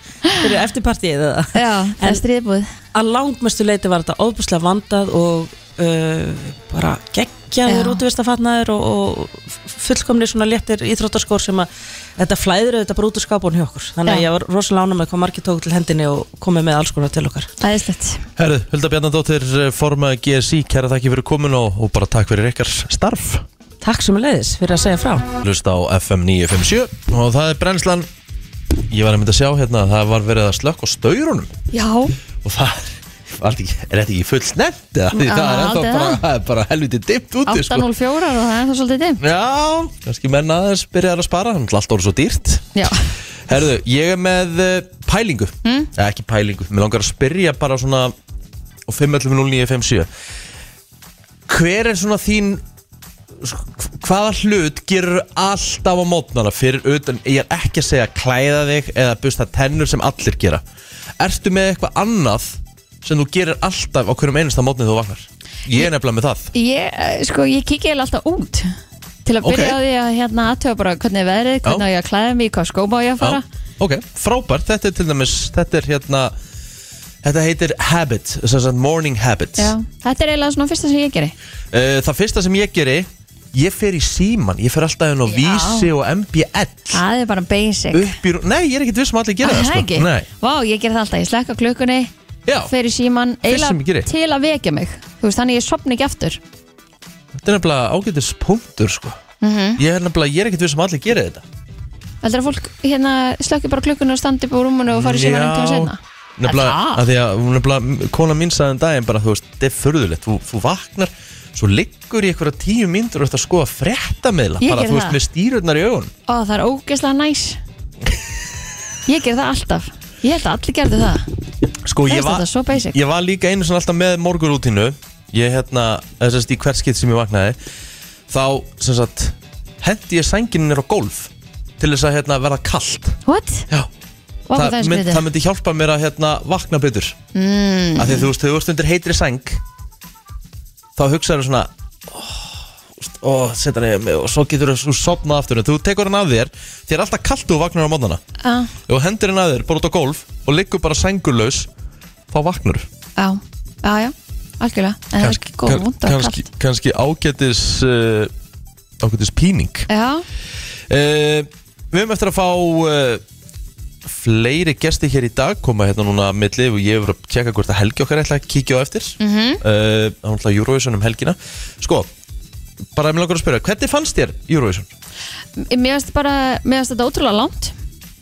fyrir eftirpartíið eða? Já, það er stríðbúið. að langmestu leiti var þetta óbúslega vandað og uh, bara Já. geggjaður útvistafatnaður og, og fullkomni svona léttir íþróttaskór sem að þetta flæður þetta bara út úr skápun hjá okkur þannig að Já. ég var rosalega ánum með hvað margir tók til hendinni og komið með alls konar til okkar Æðislegt. Herðu, Hulda Bjarnadóttir, eh, forma GSI, kæra þakki fyrir komin og, og bara takk fyrir ykkar starf Takk sem leiðis fyrir að segja frá Lusta á FM 957 og það er brennslan Ég var að mynda að sjá hérna að það var verið að slökk á staurunum Já, og það var þetta ekki, er þetta ekki full snett eða því Já, það er ennþá aldrei bara, það. það er bara helviti dimmt úti sko. 804 og það er það svolítið dimm. Já, kannski menn aðeins byrjaðar að spara þannig að allt orðið svo dýrt Já, Herðu, ég er með eh, pælingu mm? ekki pælingu, mér langar að spyrja bara svona og 5.09.57 Hver er svona þín sk- hvaða hlut gerur alltaf á mótnana fyrir utan, ég er ekki að segja klæða þig eða busta tennur sem allir gera Ertu með eitthvað annað sem þú gerir alltaf á hverjum einasta mótni þú vaknar? Ég er nefnilega með það ég, eh, sko, ég kikið alltaf út til að Ok. byrja á því að hérna aðtöfa bara hvernig er veðrið, hvernig á ég að klæða mig, í hvað skóma á ég að fara. Já, ok, frábært, þetta er til dæmis þetta er hérna þetta heitir habit, sem sagt morning habit Já, þetta er eiginlega svona fyrsta sem ég geri. Eh, það fyrsta sem ég geri ég fer í síman, ég fer alltaf inn á Já. vísi og MBL Það er bara basic. upp í, rú- nei, ég er ekkert viss um að allir gera Æ, það það sko. ekki? Nei. Vá, ég ger það alltaf, ég slekka klukkunni Já, fer í síman Fyrst sem ég geri. til að vekja mig þú veist, þannig ég sopna ekki aftur þetta er nefnilega ágætis punktur sko. Mhm. ég er nefnilega, ég er ekkert viss um að allir gera þetta heldur að fólk hérna slökki bara klukkunni og standi upp á rúmunu og fari í síman einhvern senna Nefnilega, Er það? að því að nefnilega, kona mín sagði en daginn bara, þú veist, þetta er förðulegt þú, þú vaknar, svo liggur í einhverja tíu myndur og þetta sko að frétta meðla Ég bara, geri þú veist, það. með stýrurnar í augun og það er ógeðslega næs ég ger það alltaf ég held að allir gerðu það Sko, Mér ég finnst var, þetta svo basic. ég var líka einu svona alltaf með morgunrútínu Ég hérna, þess að í hvert skitt sem ég vaknaði Þá, sem sagt, hendi ég sænginir á gólf Til þess að hérna verða kallt what? Já Vá, hvað það er mynd, skrítið. það myndi hjálpa mér að hérna vakna betur mm. Af því þú veist, þegar þú veist undir heitri sæng Þá hugsaðu svona Ó, oh, setja nefnir mig og svo getur þú sopnað aftur En þú tekur hann af þér Þér er alltaf kallt þú vaknar á mótnana á, Ef þú hendur hann að þér, bara út á gólf og liggur bara sængurlaus, þá vaknar á, á, já algjörlega, en það er ekki góð vond og kannski, kallt kannski ágætis uh, ágætis píning já, uh, Við höfum eftir að fá uh, fleiri gesti hér í dag koma hérna núna að milli og ég hefur að tjekka hvort að helgi okkar ætla að kíkja á eftir mm -hmm. uh, Það er náttúrulega Eurovision um helgina Sko, bara mér langar að spyrja hvernig fannst þér Eurovision? mér finnst bara mér finnst þetta ótrúlega langt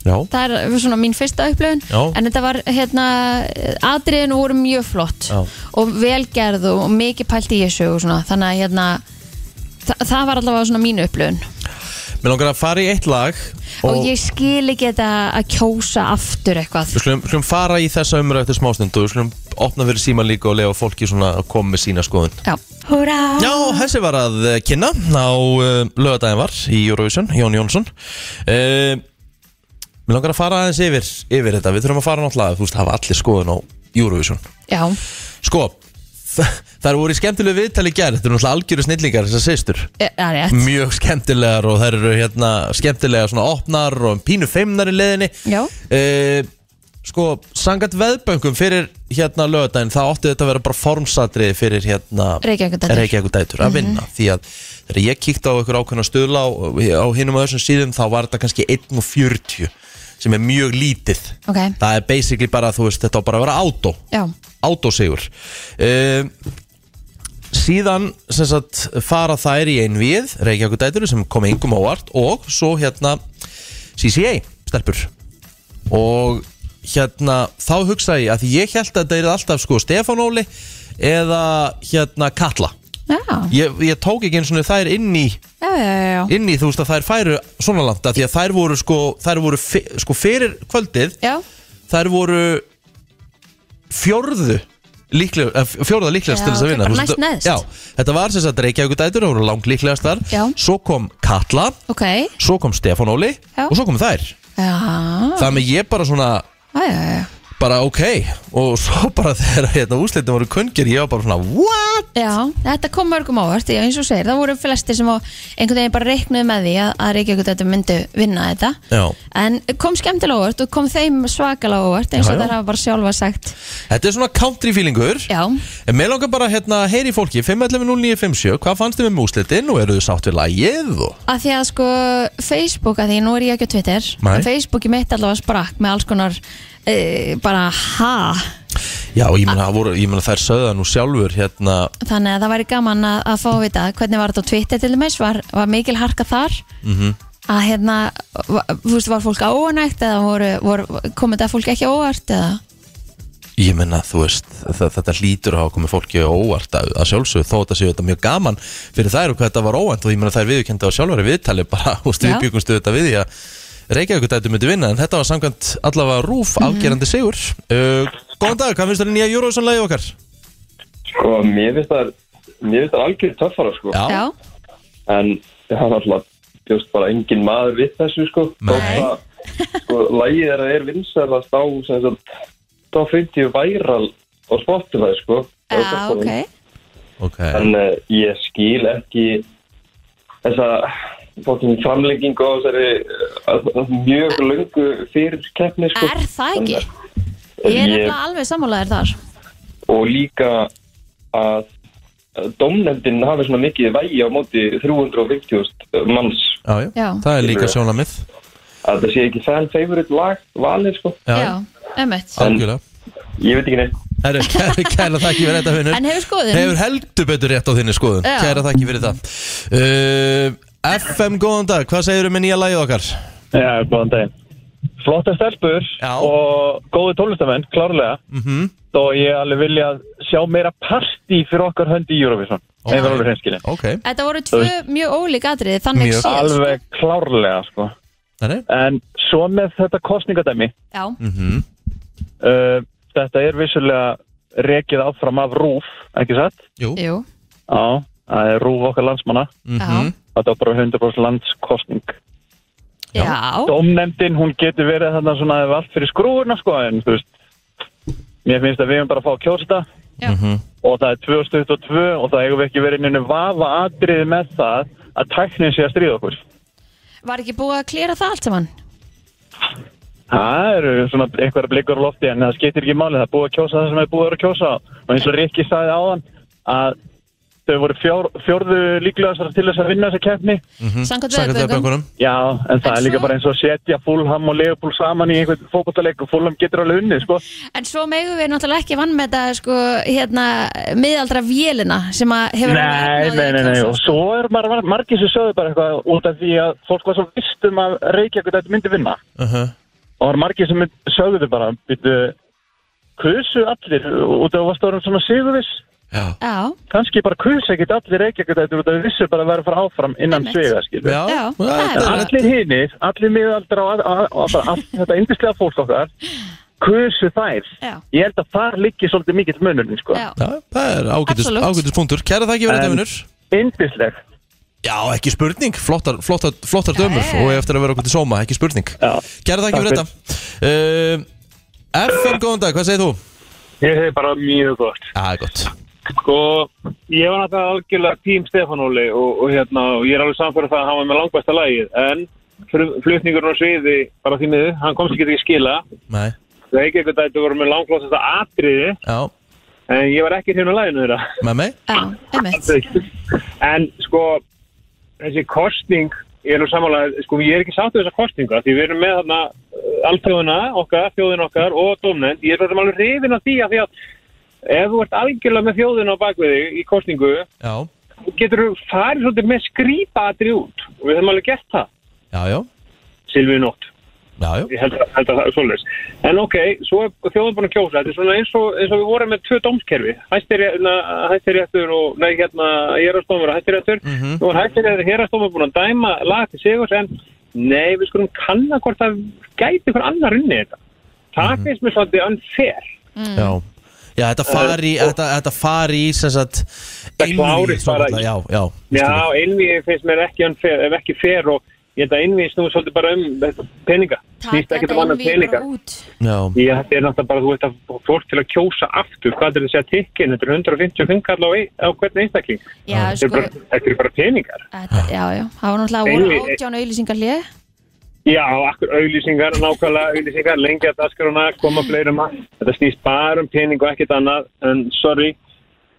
Já, það er svona mín fyrsta upplöfun Já. en þetta var hérna atriðin voru mjög flott Já. og velgerð og, og mikið pælt í þessu og svona þannig að hérna þa það var allavega svona mín upplöfun Mér langar að fara í eitt lag og, ég skil ekki þetta að kjósa aftur eitthvað Við skulum, skulum fara í þessa umræðu eftir smástund og við skulum opna fyrir síman líka og lega fólki svona að koma með sína skoðun. Já, húra Já, þessi var að eh, kynna á uh, lögadaginn var í Eurovision, Jón Jónsson. Uh, mér langar að fara aðeins yfir, yfir þetta. Við þurfum að fara náttúrulega, þú veist, hafa allir skoðun á Eurovision. Já, Sko, það eru voru í skemmtilegu viðtali í gerð, þetta eru náttúrulega algjöru snillingar þessar systur. e- það er rétt Mjög skemmtilegar og þær eru hérna skemmtilegar svona opnar og pínu feimnar í leiðinni. Já, Eh, sko, sangat veðböngum fyrir hérna lögadaginn, það átti þetta að vera bara formsatriði fyrir hérna Reykjavíkurdætur. Mhm. Reykjavíkurdætur að vinna því að þegar ég kíkti á ykkur ákveðna stuðla á, á hinum að þessum síðum þá var þetta kannski 1.40 sem er mjög lítið ok, það er basically bara, þú veist, þetta á bara að vera átó já átósigur um, síðan sem sagt fara þær í einvið Reykjavíkudætur sem kom yngum ávart og svo hérna CCA stelpur og hérna þá hugsaði ég að því ég held að þetta er alltaf sko Stefán Óli eða hérna Katla Já, ég, ég tók ekki eins og þær inn í já, já, já, já. inn í þú veist að þær færu svona langt að því að þær voru sko, þær voru fi, sko fyrir kvöldið já. þær voru fjörðu líkleg, eh, fjórða líklegast Já, til þess að ok, vinna bara Þú veist, næst neðst. já, þetta var sem sagt Reykjavík dætur, það voru langt líklegast þar Já. svo kom Katla, ok svo kom Stefán Óli Já. og svo kom þær Já, það með ég bara svona, já, já, já bara ok og svo bara þegar hérna, úsleitin voru kungir ég var bara svona, what? Já, þetta kom mörgum ávart, já, eins og þú segir, það voru flestir sem á einhvern veginn bara reiknuðu með því að, að Reykjavík þetta myndu vinna þetta Já. en kom skemmtilega ávart og kom þeim svakalega ávart eins Já, og já. það hafa bara sjálfa sagt þetta er svona country feelingur Já, En mér langar bara hérna, heyri fólki 511-0957, hvað fannst þið með múslitin og eru þið sátt við lagið og af því að sko Facebook, af því nú er ég ekki á Twitter Nei. en Facebooki mitt allavega sprakk með alls konar e, bara ha Já, ég meina, það voru- ég meina þær sögða nú sjálfur hérna, þannig að það væri gaman að, að fá að vita hvernig var þetta á Twitter til dæmis, var, var mikil harka þar að hérna va- þú veist, var fólk óanægt eða voru, voru, kom þetta fólk ekki á óvart eða Ég menna, þú veist, þa- þetta hlýtur að hafa komið fólki á óvart að, að sjálfsögðu þó þetta séu þetta mjög gaman fyrir þær og hvað þetta var óvænt og ég menna þær viðurkendi á sjálfari viðtali bara og Já. stuðbyggunstu þetta við því að Reykjavík dætu myndi vinna en þetta var samkvæmt allavega rúf Mhm. afgerandi sigur uh, Góðan dag, hvað finnst þér í nýja Eurovision lagi okkar? Sko, mér finnst það, mér finnst það algjör töffara, sko. já, En það er alltaf, bjóst bara engin maður við þessu, sko. Þó Nei. það, sko, lægið er að er vinsælast á, sem sagt, þá finnst ég væral á Spotify, sko. já, Ah, ok Ok, En uh, ég skil ekki þessa fókin framlengingu á þessari uh, mjög löngu fyrir keppni, sko. er það ekki? Þannig að ég er nefnilega alveg sammálaður þar og líka að domnefndin hafi svona mikið vægi á móti 350 manns já, já. Já. það er líka sjónamið að það sé ekki fan favorite lag valið sko, Já, já, ömmit algjörlega ég veit ekki neitt Herru, kæra, kæra þakki fyrir þetta vinnur en hefur skoðun? Hefur heldur betur rétt á þinni skoðun Já. Kæra þakki fyrir það uh, FM, góðan dag, hvað segirðu um með nýja lagið okkar? Já, góðan daginn. Flotta stelpur Já. Mhm. og góði tónlistamenn, klárlega. Mm -hmm. Og ég alveg vilja sjá meira partí fyrir okkar hönd í Eurovision. Ok. Okay. Eða alveg hreinskilin. Ok, þetta voru tvö mjög ólík atriði þannig Mjög. séð sko. Alveg klárlega, sko. það er En svo með þetta kostningadæmi, já, uh, þetta er vissulega rekið áfram af RÚF, ekki satt? Jú, jú, Já, það er RÚF okkar landsmanna. já Þetta er bara 100% landskostning. já, Dómnefndin, hún getur verið þarna svona ef allt fyrir skrúfurna, sko, en þú veist, mér finnst að við höfum bara að fá að kjósa þetta. já, og það er 2022 og það eigum við ekki verið nynnu vafa atriði með það að tæknin sé að stríða okkur. var ekki búið að klýra það allt saman? Það eru svona einhverja blikur á lofti en það skiptir ekki máli, það er búið að kjósa það sem er búið að kjósa og eins og Rikki sagði áðan að þau voru fjór, fjórðu líklegastar til þess að vinna þessa keppni. Samkvæmt Sækert veðböngum. veðböngunum Já, en það En er líka svo- bara eins og að setja Fulham og Leopold saman í einhvern fókbóttaleik og Fulham getur alveg unnið, sko. En svo megum við náttúrulega ekki vann með þetta sko, hérna, miðaldra vélina sem að hefur Nei, nei, nei, nei, og svo er mar mar margir sem sögðu bara eitthvað út af því að fólk var svo vist um að Reykjavík þetta myndi vinna. uh -huh. og það var margir sem mynd- sögðu þau bara byrju, kusu allir út af að það varum svona sigurvis Já, Já, kannski bara kusa ekkert allir reykjagöldættur út af vissu bara að vera frá áfram innan Einmitt. sviga, skilur. já, Já, það er það er En bara- bara- allir hinnir, allir miðaldra og, að- að- og bara allt þetta yndislega fólk okkar, kusu þær. Já. Ég held að þar liggi svolítið mikill munurinn, sko. já, Já, það er ágætis, Absolutt. ágætis punktur Kæra þakki fyrir þetta En- vinnur Yndisleg. Já, ekki spurning, flottar, flottar, flottar dömur Já, já. og eftir að vera okkur til sóma, ekki spurning Já. Kæra þakki Takk fyrir þetta uh, FM, góðan dag, hvað segir þú? Ég hef bara mjög gott. Já, það er gott Sko, ég var náttúrulega algjörlega tím Stefán Óli og, og hérna, og ég er alveg samfæður það að hann var með langbæsta lagið, en fru- flutningurinn á sviði, bara því miður, hann komst ekki til að skila, Nei, það ekki eitthvað þetta voru með langlossasta atriði, já, en ég var ekki hérna á laginu þeirra. með mig já, einmitt en sko, þessi kostning, ég er nú samanlega, sko, ég er ekki sátt við þessa kostninga, því við erum með þarna uh, alþjóðina okkar, þjóðin okkar og domnend, ég er svo sem alveg rifin af því að því að ef þú ert algjörlega með þjóðina á bakviði í kostningu, Já, getur þú farið svolítið með skrýpaatri út og við höfum alveg gert það já, já, Silvi Nótt, já, já ég held að, held að það er svolítið en ok, svo er þjóðan búin að kjósa þetta er svona eins og, eins og við vorum með tvö dómskerfi hæstiréttur og nei, hérna, hérastómur og hæstiréttur mm Mhm. -hmm. og hæstiréttur og hérastómur búin að dæma lag til sigurs en nei, við skulum kanna hvort það gæti hver annar unni þetta það finnst mér svolítið unfair Já, já þetta fari, og- þetta, þetta fari í sem sagt Það klárist Eh, bara svokallað, í- Já, já, Já, einvið finnst mér ekki, unfair, ef ekki fer og ég held að einvið snúi svolítið bara um þetta peninga. Snýst Takk ekkert þetta um annað einvíð peninga. bara út já, Ég þetta er náttúrulega bara, þú veit að fá fólk til að kjósa aftur, hvað er þessi að tikkin? Þetta er 155 kall á, ein- á hvern einstakling. Já, Þetta sko, eru bara, þetta eru bara peningar. þetta, já, já Það var náttúrulega voru Einvíð- átján auðlýsingar hlið Já, akkur auðlýsingar, nákvæmlega auðlýsingar, lengja dasgrana, koma fleiri maður. Þetta snýst bara um pening og ekkert annað, en sorry,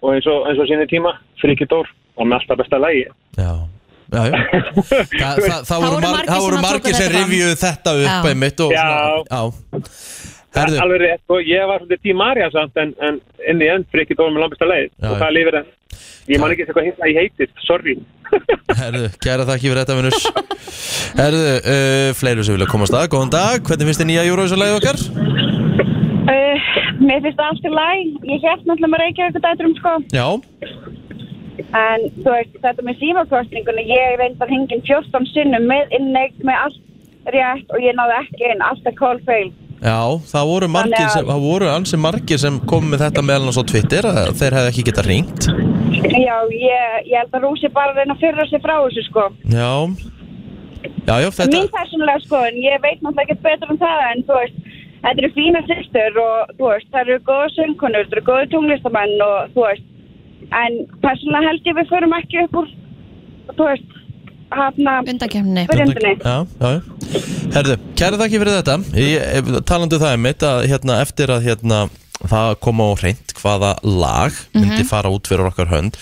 og eins og, eins og sinni tíma, friki dór og með alltaf besta lægi. já Já, já. Þa, það, það voru marg, það voru sem að margir tóku sem þetta fram. rivjuðu þetta upp Já. einmitt og Já. svona, já. Herðu, Alveg rétt og ég var svolítið tím Marja samt en, en inn í enn frikið dórum með lambista leið Já, og já. það lifir enn. Ég man ekki eitthvað hitt að ég heitist, sorry. Herðu, kæra þakki fyrir þetta vinnus Herðu, uh, fleiri sem vilja komast að Góðan dag, hvernig finnst þið nýja Eurovision-lægið okkar? Uh, mér finnst það allt í læg. Ég held náttúrulega með Reykjavík dætturum sko. Já, En þú veist, þetta með símakostningunni, ég reyndar hengin 14 sinnum með innegg með allt rétt og ég náði ekki inn alltaf call fail. já, það voru margir Þannig að- sem, það voru ansi margir sem kom með þetta meðal annars á Twitter að þeir hefði ekki getað ringt Já, ég, ég held að Rúsi bara reyna að fyrra sig frá þessu sko. Já, já, já, þetta Mín persónulega sko, en ég veit náttúrulega ekkert betur um það en þú veist, þetta eru fína sýstur og þú veist, það eru góða söngkonur, það eru góða tunglistamenn og þú veist, en persónulega held ég við förum ekki upp úr, þú veist, hafna... Undakemni Byrjandinni. Já, já, já Herðu, kæra þakki fyrir þetta ég, Talandi um það einmitt að hérna, eftir að hérna, það kom á hreint hvaða lag myndi fara út fyrir okkar hönd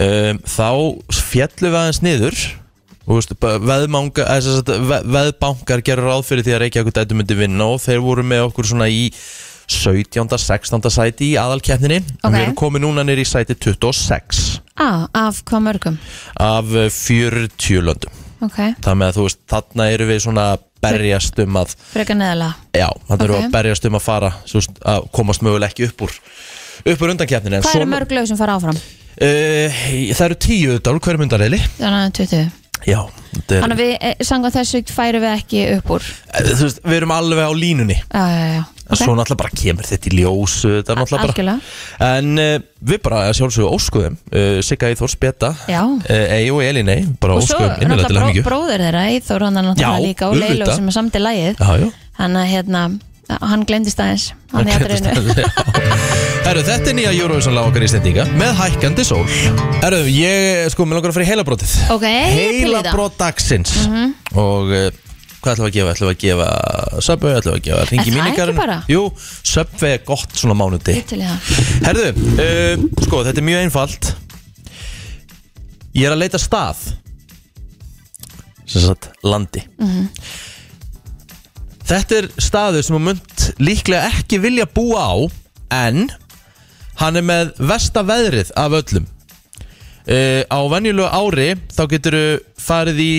um, þá fjallum við aðeins niður og veist, bara veðmanga, eða, sem sagt, ve veðbankar gerur ráð fyrir því að Reykjavík dætu myndi vinna og þeir voru með okkur svona í 17. 16. sæti í aðalkeppninni Ok. og við erum komið núna nýr í sæti 26 Á, af hvað mörgum af eh, 40 löndum Ok, Það með að þú veist, þarna eru við svona að berjast um að, frekar neðalega já, þarna eru Ok. við að berjast um að fara, þú veist, að komast mögulega ekki upp úr, upp úr undankeppninu. Hvað eru mörg lög sem fara áfram? Uh, það eru tíu dál, hverju myndarleili? Þannig að 20 Já, þetta er, Þannig að við, eh, samkvæmt þessu, færum við ekki upp úr Já, Eh, þú veist, við erum alveg á línunni. já, já Okay. Svo náttúrulega bara kemur þetta í ljós eh, þetta er náttúrulega bara Algjörlega. En uh, við bara að sjálfsögum óskuðum uh, Sigga Íþórs Betta Já. uh, Egi og Elinei bara Og svo óskuðum innilega til náttúrulega bró, hemmingju bróðir þeirra Íþór hann er Já, náttúrulega líka og Leiló auðvitað. sem er samti lægið Já, já Þannig að hérna, hann glemdist aðeins Hann hérna í Gleymdist atriðinu. aðeins, já. Herru, þetta er nýja Eurovision lag okkar í stendinga með hækkandi sól Herru, ég sko, mér langar að fara í heilabrótið Ok, ég til í það. Mhm. Heilabrót dagsins Og uh, hvað ætlum við að gefa? Ætlum við að gefa Subway, ætlum við að gefa Er Ringi það mínikarinn ekki bara? Jú, Subway er gott svona mánudi Ég til í það. Herru, uh, sko, þetta er mjög einfalt Ég er að leita stað Sem sagt, landi Þetta er staður sem þú munt líklega ekki vilja búa á En hann er með vesta veðrið af öllum uh, Á venjulegu ári þá getur farið í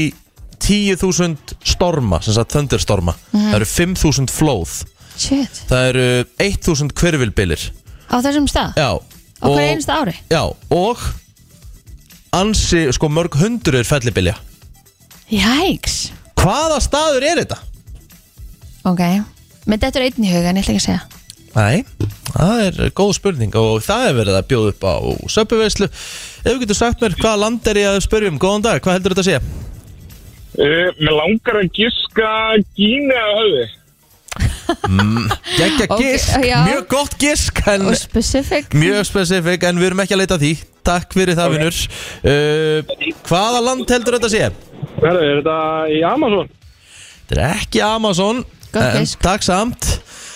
10.000 storma, sem sagt thunderstorma Það eru 5.000 flóð Shit, Það eru 1.000 hverfilbilir á þessum stað? Já, á hverju einasta ári Já, og ansi, sko, mörg hundruður fellibilja Jæks, Hvaða staður er þetta? ok Mér dettur einn í huga en ég ætla ekki að segja Nei, það er góð spurning og það er verið að bjóða upp á söpuveislu Ef þú getur sagt mér hvaða land er ég að spyrja um, góðan dag, hvað heldur þetta að segja? Uh, mér langar að giska Gína að höfði. Gekja Ok, gisk, já. mjög gott gisk en Og specific mjög spesifik en við erum ekki að leita að því Takk fyrir það vinnur uh, Hvaða land heldur þetta að segja? Herru, er þetta í Amazon? Þetta er ekki Amazon Gott en fisk. takk samt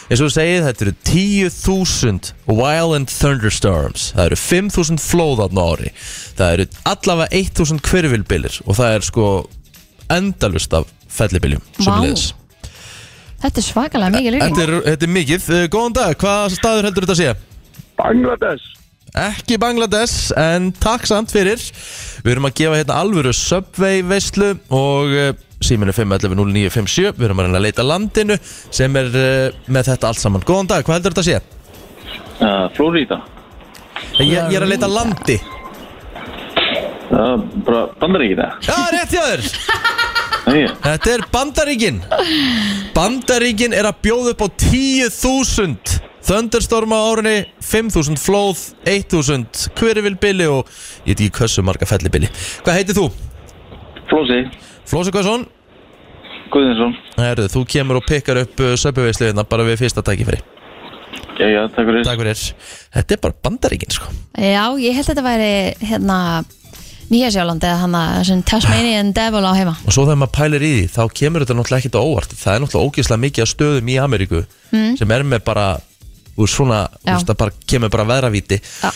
eins og þú segið þetta eru 10.000 wild and thunderstorms það eru 5.000 flóðarn á ári það eru allavega 1.000 hverfylbilir og það er sko endalust af fellibiljum Vá. sömuleiðis. Þetta er svakalega mikið þetta, líking er, þetta er mikið, Uh, góðan dag hvaða staður heldur þetta að sé? Bangladesh. Ekki Bangladesh, en takk samt fyrir Við erum að gefa hérna alvöru Subway veislu og uh, síminu 511-0957 Við erum að reyna að leita að landinu sem er uh, með þetta allt saman Góðan dag, hvað heldur þetta að sé? Uh, Florida. Ég, ég er að leita að landi Uh, bara bandaríkina. Já, rétt hjá þér Nei, Þetta er Bandaríkin Bandaríkin er að bjóða upp á 10.000 Thunderstorm á árunni 5.000 flóð 1.000 hverjulbili og ég veit ekki hversu marga fellibili Hvað heitir þú? Flósi, Flósi Kvasson Guðinsson. Herðu, þú kemur og pikkar upp uh, söpuveislu hérna bara við fyrsta tækifæri Já, já, takk fyrir. Takk fyrir Þetta er bara bandaríkin sko Já, ég held að þetta væri hérna Nýja Sjálandi eða hann að þessum Tasmanian Devil á heima Og svo þegar maður pælir í því þá kemur þetta náttúrulega ekkert á óvart Það er náttúrulega ógeðslega mikið af stöðum í Ameríku sem er með bara úr svona, Mm. Já. úst, það bara, kemur bara veðravíti Já.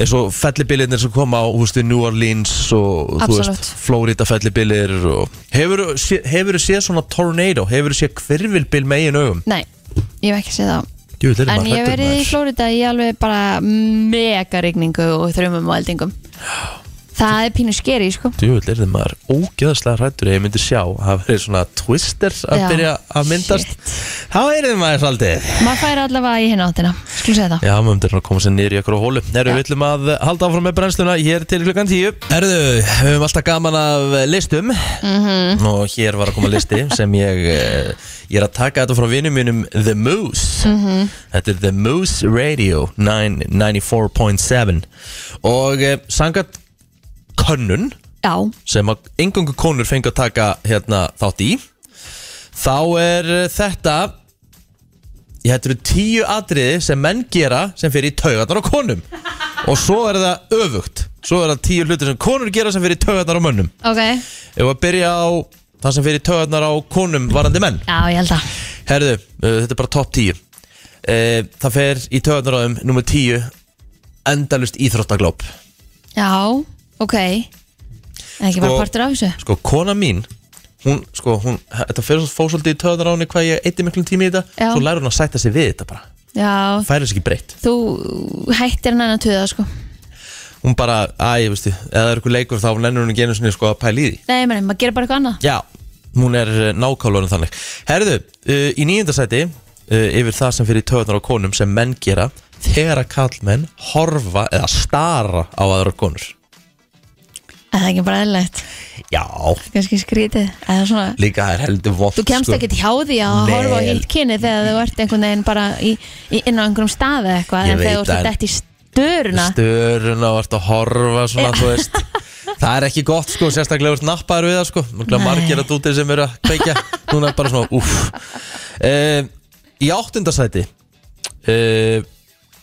eins og fellibilinir sem koma á úst, New Orleans og þú Absolutt. veist, Florida fellibilir og... hefur, hefur séð svona tornado hefur séð hverfilbil megin augum Nei, ég hef ekki séð það Jú, þetta er En maður ég hef hræddur, verið í maður. Flórida í alveg bara mega rigningu og þrjumum og eldingum Það er pínu skeri, sko Djúvill er þið maður ógeðaslega hrættur ég myndi sjá að það verið svona twister að Já, byrja að myndast þá er þið maður svolítið Maður færi allavega í hérna áttina Skulum segja það Já, maður myndir að koma sér niður í okkur á hólu Herru, við ætlum að halda áfram með brennsluna hér til klukkan 10 Herru, við höfum alltaf gaman af listum og hér var að koma listi sem ég eh, ég er að taka þetta frá vinnum mínum The Moose Þetta er The Moose Radio 9 94.7 og eh, sangat könnun Já, sem að engungu konur fengi að taka hérna þátt í þá er eh, þetta ég hættur tíu atriði sem menn gera sem fyrir í taugarnar á konum og svo er það öfugt svo er það tíu hluti sem konur gera sem fyrir í taugarnar á mönnum ok ef að byrja á það sem fyrir í taugarnar á konum varandi menn Já, ég held að herðu, eh, þetta er bara topp tíu eh, það fer í taugarnar á þeim nummer tíu endalust íþróttaglóp Já, ok En ekki bara Sko- partur af þessu sko, kona mín hún, sko, hún, þetta fyrir svo fósaldi í töðan á henni hvað ég eitti miklum tími í þetta Já. svo læra hún að sætta sig við þetta bara Já, færa sig ekki breytt, þú hættir hann að tuða, sko hún bara, æ, ég veistu eða það er eitthvað leikur þá nennur hún ekki einu sinni sko að pæla í því Nei, meni, maður gerir bara eitthvað annað já, hún er nákálurinn þannig herðu, uh, í nýjöndasæti uh, yfir það sem fyrir töðanar á konum sem menn gera þegar að kallmenn horfa eða stara á aðra konur En það er ekki bara eðlægt já, Kannski skrítið Eða svona líka það er heldur vond Þú kemst ekkert hjá því að Sko, Nei. horfa á hitt kyni þegar þú ert einhvern veginn bara í, í, inn á einhverjum stað eða eitthvað Ég en þegar veit þú ert það, dætt í störuna störuna og ert að horfa svona, þú veist það er ekki gott sko, sérstaklega ert nappaður við það sko, Mörglega Nei. margir að dútið sem eru að kveikja núna er bara svona, uff e, í áttundasæti e,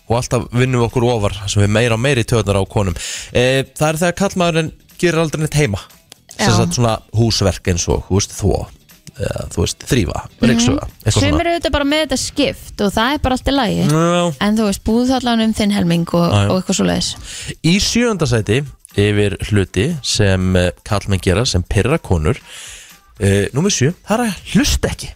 og alltaf vinnum við okkur ofar sem við meira og meiri töðnar á konum e, það er þegar kallmaðurinn gerir aldrei neitt heima sem Já. sagt svona húsverk eins og, þú veist, þvó eða, þú veist, þrýfa, ríksuga eitthvað Mhm. Sumir svona eru þetta bara með þetta skipt og það er bara allt í lagi Já. en þú veist, búðu þá allan um þinn helming og, Já, já. og eitthvað svo leiðis Í sjöndasæti yfir hluti sem eh, karlmenn gera sem pyrra konur uh, Númer sjö, það er að hlusta ekki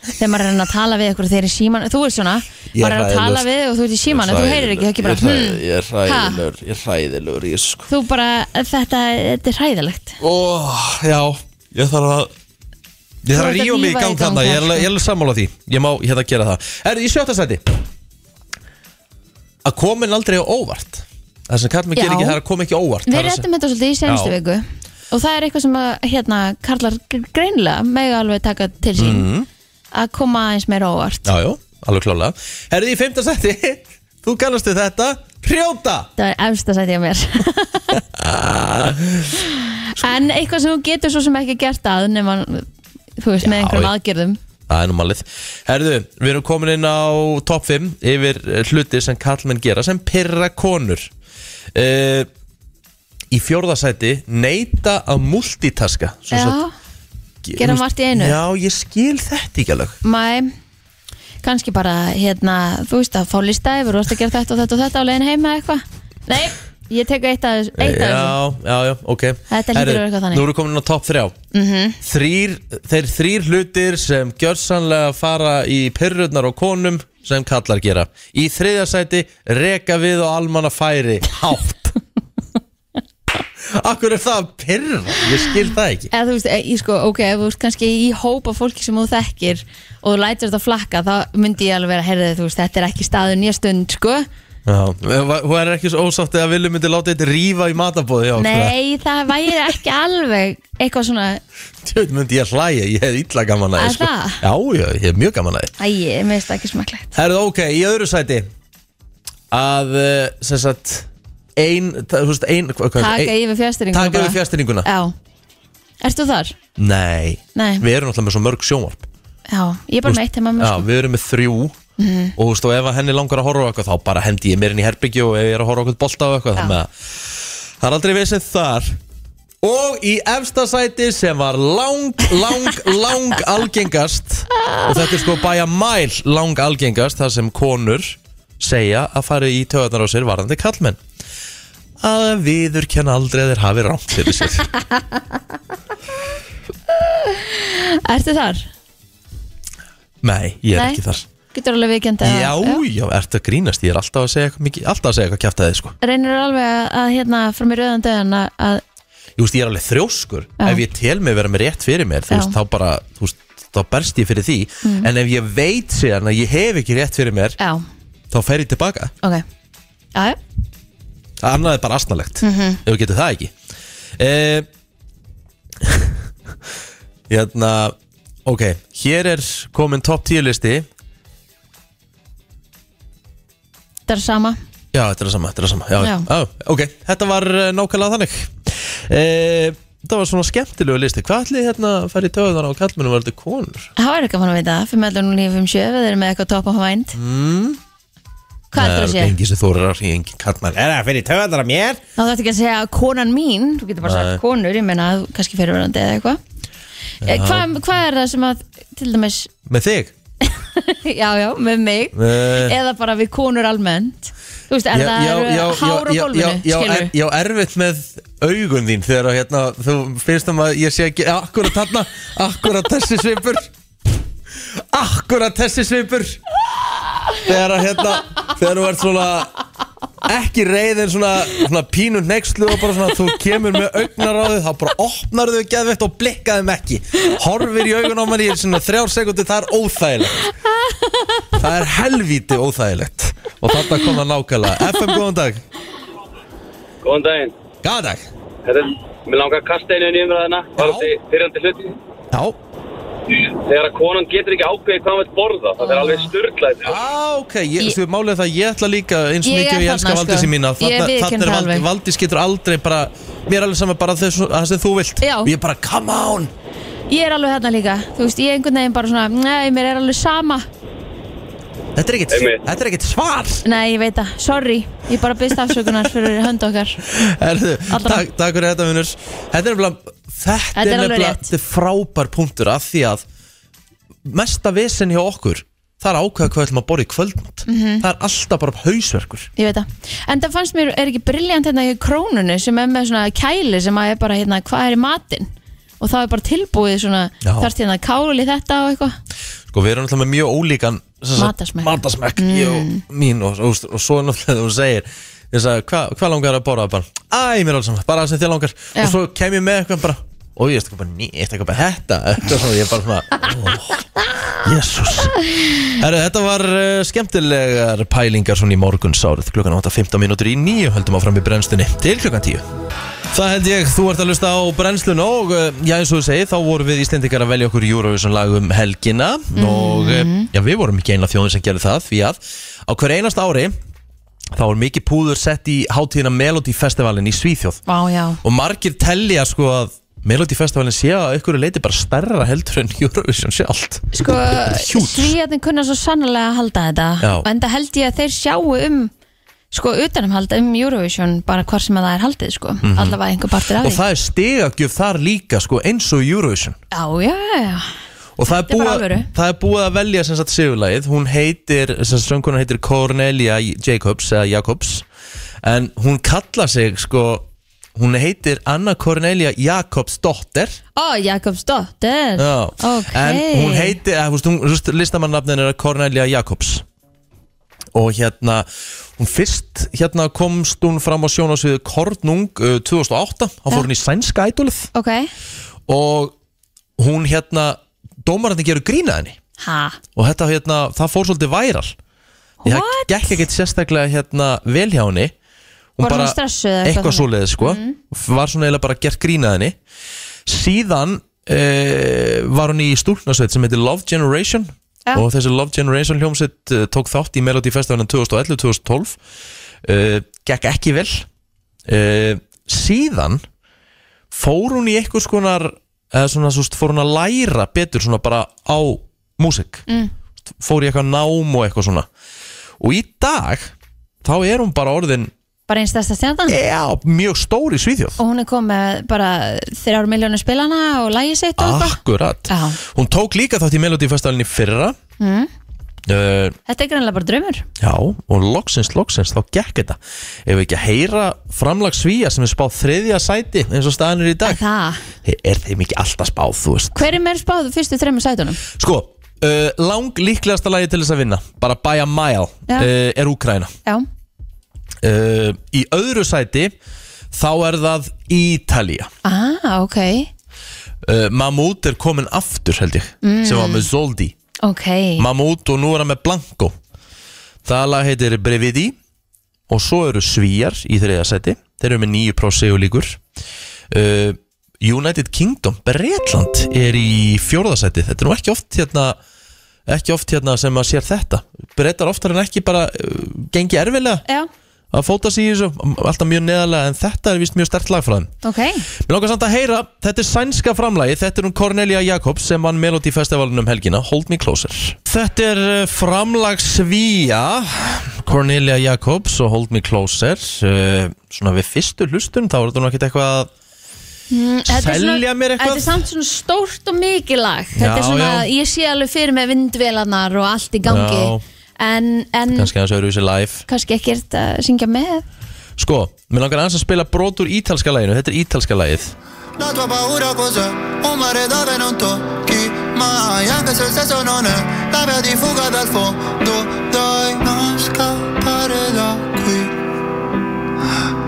þegar maður er að reyna að tala við ykkur þegar í síman þú veist svona, Ég er maður er að tala hræðilegust. við og þú ert í síman og þú heyrir ekki, það er ekki bara hm, Ég er hræðilegur, ég er hræðilegur ég sko. þú bara, þetta, þetta er hræðilegt Ó, já, ég þarf að Þú Ég þarf að ert að rífa mig í rífa gang í gang þarna, ég þarna, er alveg- sko. ég er alveg sammála því Ég má hérna gera það Er í sjötta sæti að komin aldrei á óvart það sem Karlmann gerir Já. ekki það er að koma ekki á óvart Við Það er að réttum þetta svolítið í senstu Já. viku og það er eitthvað sem að hérna, Karlar gr- greinilega mega alveg taka til sín að koma aðeins meira á óvart Mhm. Já, já, alveg klálega Herði í fimmta seti, þú kannast við þetta Prjóta Það er efst að sæti á mér En eitthvað sem þú getur svo sem ekki gert að nema, þú veist, með Já, einhverjum já. aðgerðum Það er nú málið Herðu, við erum komin inn á topp 5 Yfir eh, hluti sem kallmenn gera Sem pyrra konur uh, Í fjórða seti Neita að multitaska Svo Já, sem- gera margt í einu. Já, ég skil þetta ekki alveg mæ kannski bara, hérna, þú veist að fá lista yfir og að gera þetta og þetta og þetta á leiðin heima eða eitthvað Nei, ég tek eitt af þessu- eitt af þessu Já, já, já, ok Þetta hlýtur að vera eitthvað þannig. Mhm. Nú erum við komin inn á topp 3 -hmm. þrýr, Þeir þrýr hlutir sem gjörsanlega fara í pyrrurnar og konum sem kallar gera Í þriðja sæti, reka við og almanna færi Hátt Akkur er það að pyrra? Ég skil það ekki eða þú veist, ég sko, ok, ef þú veist kannski í hópa fólki sem þú þekkir og þú lætur þetta flakka, þá myndi ég alveg vera heyrðu, þú veist, þetta er ekki staður nýja stund, sko Já, Eh, hún er ekki svo ósáttið að Villu myndi láta þetta rífa í matabóði Nei, það væri ekki alveg eitthvað svona, Tjóð myndi ég hlæja, ég hef illa gaman að Er því, sko. það? Já, já, ég hef mjög gaman að því æ, mér finnst það ekki smaklegt Það eru ok, í öðru sæti að eh, sem sagt ein, það, þú veist, ein hvað, hvað- Taka ein, yfir fjastringuna taka yfir fjastýringuna Já, ert þú þar? Nei, Nei. við erum alltaf með svo mörg sjónvarp Já, ég er bara með eitt heima með Já, sko Mhm. við erum með þrjú og þú veist, og ef að henni langar að horfa á eitthvað þá bara hendi ég mér inn í herbyggju og ef ég er að horfa á eitthvað bolta á eitthvað þannig að það er aldrei vissið þar og í efsta sæti sem var lang, lang, lang algengast og þetta er sko bæja mæl lang algengast þar sem konur segja að fara í töðarnar á sér varðandi kallmenn að viður kenna aldrei að þeir hafi rámt fyrir sér Ertu þar? Nei, ég er Nei. ekki þar Getur alveg viðkjönd að Já, já, ertu að grínast, ég er alltaf að segja eitthvað mikið, alltaf að segja eitthvað kjæft að þið sko Reynir alveg að, að hérna, frá mér auðan döðan að, að Ég, veist, ég er alveg þrjóskur Já. Ef ég tel mig vera með rétt fyrir mér þú Já. Mm. veist, Þá bara, þú veist, þá berst ég fyrir því En ef ég veit síðan að ég hef ekki rétt fyrir mér Já, Þá fer ég tilbaka ok Já, já, Það annað er bara asnalegt Mhm. Ef við getum það ekki eh, Hérna Ok, hér er komin topp 10 listi þetta er sama Já, þetta er það sama, þetta er það sama Já, já. Já. Á, Ok, þetta var eh, nákvæmlega þannig eh, Það var svona skemmtilegu listi Hvað ætli hérna að fara í töðan á kallmennum Var þetta konur? Það var ekki að fann að vita það, fyrir meðlum 957 við erum með eitthvað top of mind mm. Hvað er það að Það er segja? engin sem þórar að ringa engin kallmann Er það fyrir töðanar að mér? Þá þarf ekki að segja konan mín, þú getur bara sagt konur, ég meina þú kannski fyrirverandi eða eitthvað Eh, Hvað hva er það sem að, til dæmis, Með þig? já já, með mig, Eh. eða bara við konur almennt Þú veist, er það eru hár á gólfinu, já, já, skilur er- já, erfitt með augun þín Þegar að, hérna, þú finnst um að ég sé ekki Akkurat þarna, akkurat þessi svipur Akkurat þessi svipur Þegar að hérna Þegar þú ert svona Ekki reið en svona, svona pínu nexlu Og bara svona þú kemur með augnar á þau Þá bara opnar þau geðveitt og blikkar þeim ekki Horfir í augun á manni í svona þrjár sekundi Það er óþægilegt Það er helvíti óþægilegt Og þarna kom það nákvæmlega FM góðan dag Góðan daginn. Góðan dag Herra, mér langar að kasta einu inn í umræðina, varandi fyrrandi hluti. Já Þegar að konan getur ekki ákveðið hvað hann vil borða, það er alveg styrklaðið. Á, Ah, ok, ég, Ég- ég, málið er það að ég ætla líka eins og Ég er mikið og ég þarna, elska sko. Valdísi mína Ég viðurkenni er það Valdís, alveg. Valdís getur aldrei bara mér er alveg sama bara þess, það sem þú vilt Já. ég er bara, come on Ég er alveg hérna líka, þú veist, ég er einhvern veginn bara svona, nei, mér er alveg sama þetta er ekkit, Einmitt. þetta er ekkit svar Nei, ég veit það, sorry, ég bara byrst afsökunar fyrir hönd okkar Herðu, Allra. takk, takk fyrir þetta vinnur þetta er nefnilega þetta Þetta er er alveg nefnilega rétt. þetta er frábær punktur af því að mesta vesen hjá okkur það er að ákveða hvað við ætlum að borða í kvöldmátt Mhm. það er alltaf bara hausverkur Ég veit það. En það fannst mér, er ekki briljant hérna í krónunni sem er með svona kæli sem að er bara hérna, hvað er í matinn? Og þá er bara tilbúið svona, Já. þarft hérna káli þetta og eitthvað. Sko við erum náttúrulega með mjög ólíkan sem sagt, Matarsmekk. Matarsmekk, ég og mín og, og, og svo er náttúrulega þegar þú segir Ég sagði, hva- hvað langar þér að borða? Bara, Æ, mér er alls saman, bara það sem þér langar Já. Og svo kem ég með eitthvað bara og ég veist eitthvað bara, ný, ég veist eitthvað bara þetta Þetta er svona, ég er bara svona, ó, jésús Herru, þetta var uh, skemmtilegar pælingar svona í morgunsárið Klukkan 8.15 mínútur í nýju höldum áfram í brennstunni til klukkan 10 Það held ég, þú ert að lusta á brennslun og uh, já eins og þú segir, þá vorum við Íslendingar að velja okkur Eurovision lag um helgina og uh, já við vorum ekki einlega þjóðin sem gerði það því að á hver einast ári þá er mikið púður sett í hátíðina Melody Festivalin í Svíþjóð Vá, já og margir tellja sko að Melody Festivalin sé að ykkur leiti bara stærra heldur en Eurovision sjálft Sko, huge. svíjarnir kunna svo sannlega að halda þetta Já. og enda held ég að þeir sjáu um sko, utanumhald um Eurovision bara hvar sem að það er haldið, sko Mhm. allavega einhver partur af og því það er stegagjöf þar líka sko eins og Eurovision Já, já, já, já og það Þetta er, er bara búið, alvöru. það er búið að velja sem sagt sigurlagið, hún heitir sem sagt sönguna heitir Cornelia Jacobs eða Jacobs, en hún kalla sig sko hún heitir Anna Cornelia Jacobsdóttir Ó, Jakobs dóttir Já. Ok en hún heitir, eða, þú veist, hún- þú veist, listamannafnin er Cornelia Jacobs og hérna hún fyrst, hérna komst hún fram á sjónasviðu Kornung uh, 2008, þá fór hún í sænska ædolið Ok, og hún hérna dómarandi gerur grína henni ha, og þetta hérna, það fór svolítið væral því það What? gekk ekkert sérstaklega hérna vel hjá henni Hún Var hún stressuð eða eitthvað Mhm. eitthvað þannig? svoleiðis sko var svona eiginlega bara gert grínað henni síðan uh, var hún í stúlnasveit sem heitir Love Generation Ja. og þessi Love Generation hljómsveit uh, tók þátt í Melody Festivalin 2011-2012 uh, gekk ekki vel uh, síðan fór hún í eitthvað skonar eða svona, svona, fór hún að læra betur svona bara á músik mm. fór í eitthvað nám og eitthvað svona og í dag þá er hún bara orðin bara einn stærsta stjarnan já, mjög stór í Svíþjóð Og hún er komið bara þrjár miljónu spilana og lægi sitt Ah. og eitthvað akkurat Já, hún tók líka þátt í Melody Festivalinni í fyrra mm. uh, þetta er grannlega bara draumur já, og loksins, loksins þá gekk þetta ef við ekki að heyra framlag Svíja sem er spáð þriðja sæti eins og staðan er í dag Það, er þeim ekki alltaf spáð, þú veist hverjum er spáðu fyrstu þreymur sætunum? Sko, uh, lang líklegasta lagi til þess að vinna bara by a mile Já. uh, er Úkraina Já, uh, Í öðru sæti þá er það Ítalía ah, ok uh, Mahmoud er komin aftur held ég Mm. sem var með Zoldi Ok, Mahmoud og nú er hann með Blanco Það lag heitir Brevidi og svo eru Svíjar í þriðja sæti þeir eru með 9% og líkur uh, United Kingdom Bretland er í fjórða sæti þetta er nú ekki oft hérna ekki oft hérna sem að sér þetta brettar oftar en ekki bara uh, gengi erfilega Já. að fóta sig í þessu alltaf mjög neðalega en þetta er vist mjög stert lag frá þeim ok Mér langar samt að heyra, þetta er sænska framlagi, þetta er hún Cornelia Jacobs sem vann Melody Festivalin um helgina, Hold Me Closer. Þetta er uh, framlag Svíja, Cornelia Jacobs og Hold Me Closer. Uh, Svona við fyrstu hlustun, þá er þetta nú ekkert eitthvað að... Mm, þetta er svona- Selja mér eitthvað? Þetta er samt svona stórt og mikið lag Þetta er Já, svona, já. ég sé alveg fyrir með vindvélarnar og allt í gangi Já. En, en Kannski aðeins öðru í live. kannski ekkert að syngja með Sko, mér langar aðeins að spila brot úr ítalska laginu, þetta er ítalska lagið. La tua paura cos'è? Un mare dove non tocchi mai Anche se il senso non è la via di fuga dal fondo Dai, non scappare da qui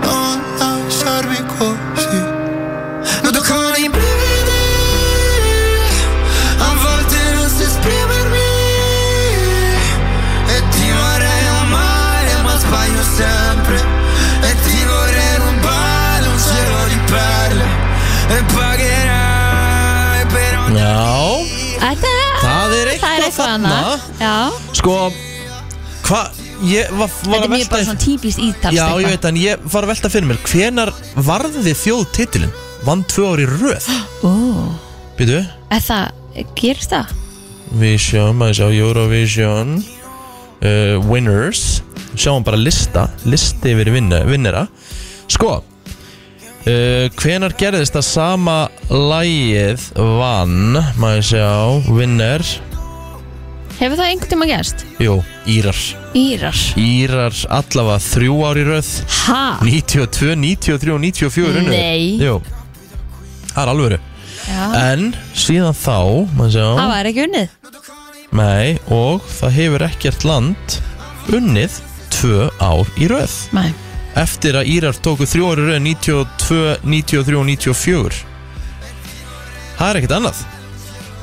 Non lasciarmi così Noto con i brividi A volte non so esprimermi E ti vorrei amare ma sbaglio sempre E ti vorrei rubare un cielo di perle E pagherai per ogni Já, Þetta Það er eitthvað þarna. annað. Já, sko, hvað, ég var, var þetta er mjög að velta... bara svona típist ítalst Já, ég veit, en ég var að velta fyrir mér, hvenar varði þjóðtitilin? Vann tvö ári röð. Ó, Býtu, er það, gerist það? Vision, maður sjá Eurovision uh, Winners Sjáum bara lista Listi yfir vinna, vinnera Sko uh, Hvenar gerðist að sama Lægið vann Maður sjá, vinner Hefur það einhvern tíma gerst? Jú, Írar Írar Írar allavega þrjú ári röð Ha? 92, 93 og 94 unnu þeir. Nei. Jú Það er alvöru Já, En síðan þá, maður sjá það var ekki unnið Nei, og það hefur ekkert land unnið tvö ár í röð Nei. Eftir að Írar tóku þrjú ári röð 92, 93 og 94 Það er ekkert annað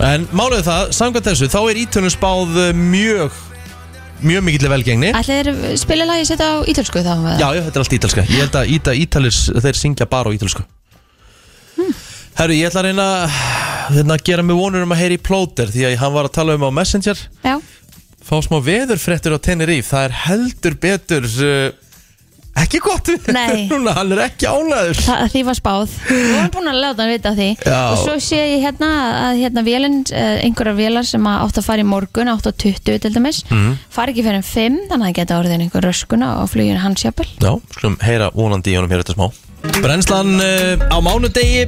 En málega það, samkvæmt þessu, þá er ítölum spáð eh, mjög mjög mikill velgengni Ætli þeir spila lagið sitt á ítölsku þá með Já, já, þetta er allt ítalska Ég held að íta, ítalis, þeir syngja bara á ítalsku Herru, ég ætla að reyna hérna, að gera mig vonur um að heyri í plóter því að hann var að tala um á Messenger Já, fá smá veðurfrettur á Tenerife það er heldur betur uh, ekki gott veður Nei. núna, hann er ekki álaður það, því var spáð Við vorum búin að láta hann vita af því Já. Og svo sé ég hérna að hérna vélinn eh, einhverjar vélar sem að átt að fara í morgun 8.20 til dæmis Mhm. fara ekki fyrir en 5 þannig að það geta orðin einhver röskuna á fluginu hans jafnvel Já, skulum heyra vonandi í honum hér þetta smá Brennslan uh, á mánudegi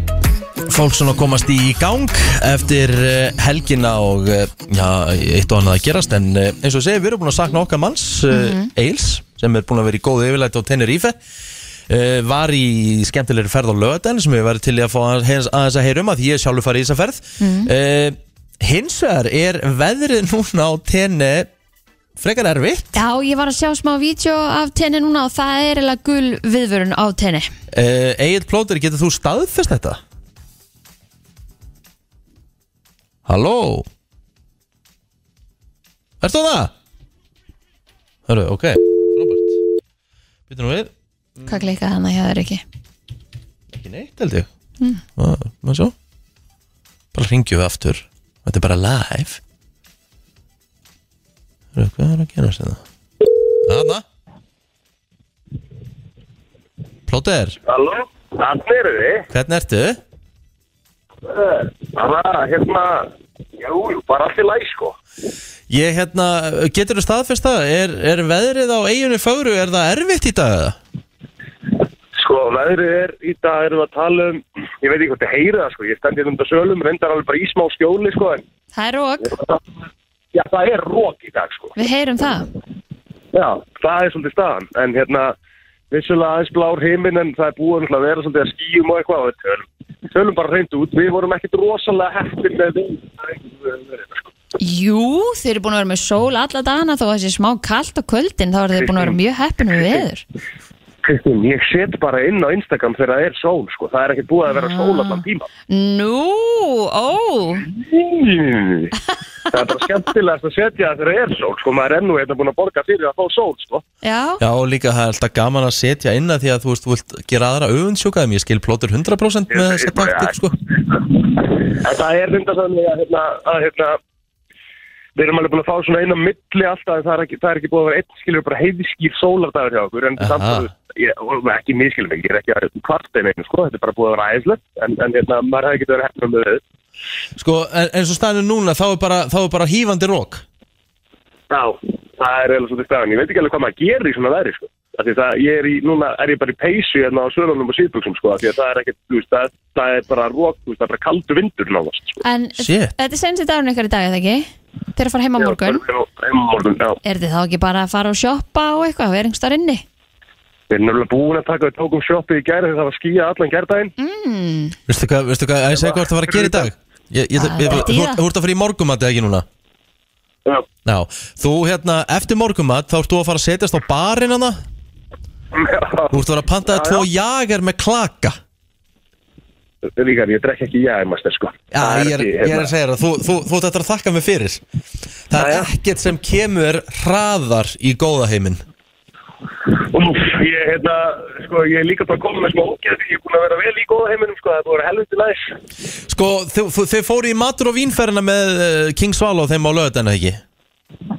Fólk svona komast í gang eftir eh, helgina og eh, já, eitt og annað að gerast en eh, eins og ég segi, við erum búin að sakna okkar manns mm Mhm. Eils, sem er búin að vera í góðu yfirlæti á Tenerife uh, var í skemmtilegri ferð á löðan sem við verðum til í að fá að- aðeins að heyra um að því ég er sjálfur farið í þessa ferð Mhm. mm. Hins vegar er veðrið núna á Tene frekar erfitt Já, ég var að sjá smá vídeo af tenni núna og það er eiginlega gul viðvörun á tenni Uh, Egil Plóter, getur þú staðfest þetta? Halló? Ertu það? Hörru, ok Robert Býtum við, Hvað klikaði hann að hjá þér ekki? ekki neitt held ég Mm. Má- Má sjá Bara ringjum við aftur Þetta er bara live Hörru, hvað er að hérna? gera þetta? Hanna Plóter, Halló, hann eru þið? hvernig ertu? Eh, Bara, hérna, jú, jú, bara allt í læg, sko. Ég hérna, getur þú staðfest það? Er, er veðrið á eiginni fögru, er það erfitt í dag? eða? Sko, veðrið er, í dag erum við að tala um, ég veit ekki hvort þið heyrið það, sko, ég stendi um þetta sölum, reyndar alveg bara í smá skjóli, sko, en... Það er rók. Já, það er rók í dag, sko. Við heyrum það Já, það er svolítið staðan, en hérna, vissulega aðeins blár heiminn, en það er búið náttúrulega að vera svolítið að skýjum og eitthvað, og við tölum, tölum bara reynd út, við vorum ekkit rosalega heftir með því. sko. Jú, þeir eru búin að vera með sól alla dagana þó að það sé smá kalt á kvöldin þá eru þeir búin að vera mjög heppinu við veður Kristín, ég set bara inn á Instagram þegar það er sól, sko. Það er ekki búið að vera sól allan tíma. Nú, ó Það er bara skemmtilegast að setja þegar það er sól, sko. Maður er nú hérna búin að borga fyrir að fá sól, sko. Já, Já, og líka það er alltaf gaman að setja inn að því að þú veist, þú vilt gera aðra öfundsjúkaðum, ég skil plótur 100% með þessa taktik, sko. En það er reynda þannig að, hérna, að, hérna, við erum alveg búin að fá svona eina milli alltaf, en það er ekki, það er ekki búið að vera einn, skilur, bara heiðiskýr sólardagur hjá okkur, en Aha. samt að, ég, og ekki miskilum, ég er ekki að kvarta einu, sko. Þetta er bara búið að vera æðislegt, en, en hérna, maður hefði getið verið hefnum með þau. Sko, en, eins og staðinu núna, þá er bara, þá er bara hýfandi rók. Já, það er eiginlega svolítið staðan. Ég veit ekki alveg hvað maður gerir í svona veðri, sko. Af því það, ég er í, núna er ég bara í peysu hérna á sölunum og síðbuksum, sko. Af því að það er ekkert, þú veist, það, það er bara rók, þú veist, það er bara kaldu vindur náðast, sko. en Shit. þetta er senst í dagurinn ykkar í dag, eða ekki? Þeir að fara heim á morgun Já, bara- já, heim á morgun, já. Er þið þá ekki bara að fara og shoppa og eitthvað, við erum einhverstaðar inni? Við erum nefnilega búin að taka við tókum sjoppi í gæri þegar það var skýja allan gærdaginn. Mm. Veistu hvað, veistu hvað, að ég segi hvað það var að gera í dag? Ég, ég, Það ég, er þú, dýra. þú ert að fara í morgumat eða ekki núna? Já. Já, þú hérna, eftir morgumat, þá ert þú að fara að setjast á barinn hana? Þú ert að fara að pantaði tvo jager með klaka. Ríkar, ég drekk ekki jæði, master, sko. Já, Það ég er, ekki, ég er hérna, að segja það, þú, þú, þú ert eftir að þakka mig fyrir Það er ekkert sem kemur hraðar í góða heiminn Úf, ég, hérna, sko, ég er líka bara komin með smá ógeð, ég er búin að vera vel í góða heiminum, sko, það voru helviti læs. Sko, þau, þau, þau fóru í matur og vínferðina með uh, King Svaló þeim á löðdana ekki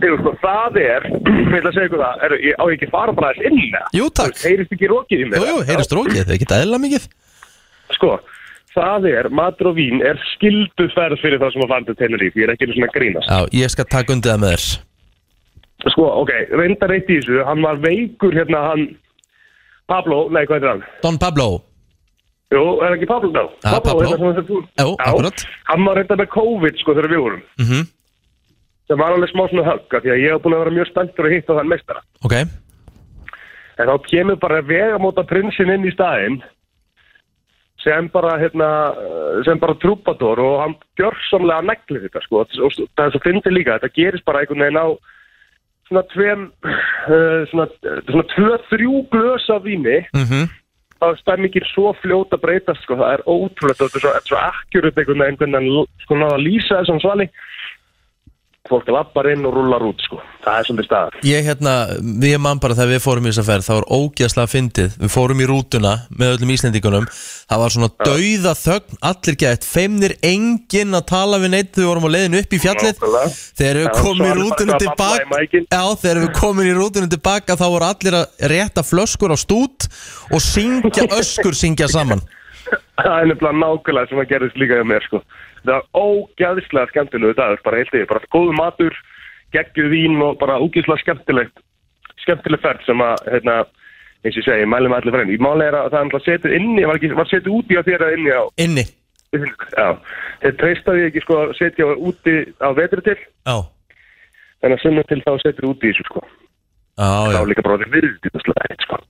Jú, sko, það er, ég ætla að segja ykkur það, er, ég, á ég ekki fara bara aðeins inn, eða? Jú, takk. Heyrist ekki rókið í mér? Jú, jú, heyrist rókið, þau geta eðla mikið Sko, það er, matur og vín er skilduferð fyrir það sem að vandu Tenerife, ég er ekki einu svona að grínast. Já, ég skal taka undið það með þér Sko, ok, reyndar eitt í þessu, hann var veikur hérna, hann, Pablo, nei, hvað heitir hann? Don Pablo Jú, er ekki Pablo þá? Já, Ah, Pablo. hérna sem þetta þú? Jú, akkurat Hann var reyndar með COVID, sko, þegar við vorum, mm sem var alveg smá svona högg, af því að ég hef búin að vera mjög spenntur að hitta þann meistara. Ok, En þá kemur bara vegamóta prinsinn inn í staðinn, sem bara, hérna, eh, sem bara trúpator og hann gjörsamlega neglir þetta, sko, og og það er svo fyndið líka, þetta gerist bara einhvern veginn á svona tveim, uh, svona, eh, svona tvö, þrjú glös af víni, mhm þá er stemmingin svo fljót að breytast sko, það er ótrúlegt og þetta er svo, þetta er svo akkurat einhvern veginn einhvern veginn sko náða að lýsa þessum svali fólk lappar inn og rullar út sko, það er svolítið staðar Ég hérna, ég man bara þegar við fórum í þessa ferð, það var ógjastlega fyndið Við fórum í rútuna með öllum Íslendingunum Það var svona dauða þögn, allir gætt Feimnir enginn að tala við neitt Þegar við vorum á leiðinu upp í fjallið Nákvæmlega. Þegar Já, við svo komum allir í bara að babla rútuna í tilbaka Já, þegar við komum í rútuna tilbaka Þá voru allir að rétta flöskur á stút Og syngja öskur, syngja saman það er nefnilega nákvæmlega sem að gerðist líka hjá mér sko. það var ógæðislega skemmtilegu dagur bara heilt yfir, bara góð matur geggjuð vín og bara ógæðislega skemmtilegt skemmtileg ferð sem að hérna, eins og ég segi, ég mælum allir fyrir henni ég máli er að það er alltaf setið inni var, ekki, var setið úti á þér að inni á inni já, þeir treystaði ekki sko að setja úti á vetri til já þannig að sunna til þá setur úti í þessu sko Já, já. Þá líka bara orðið virðislega heitt sko.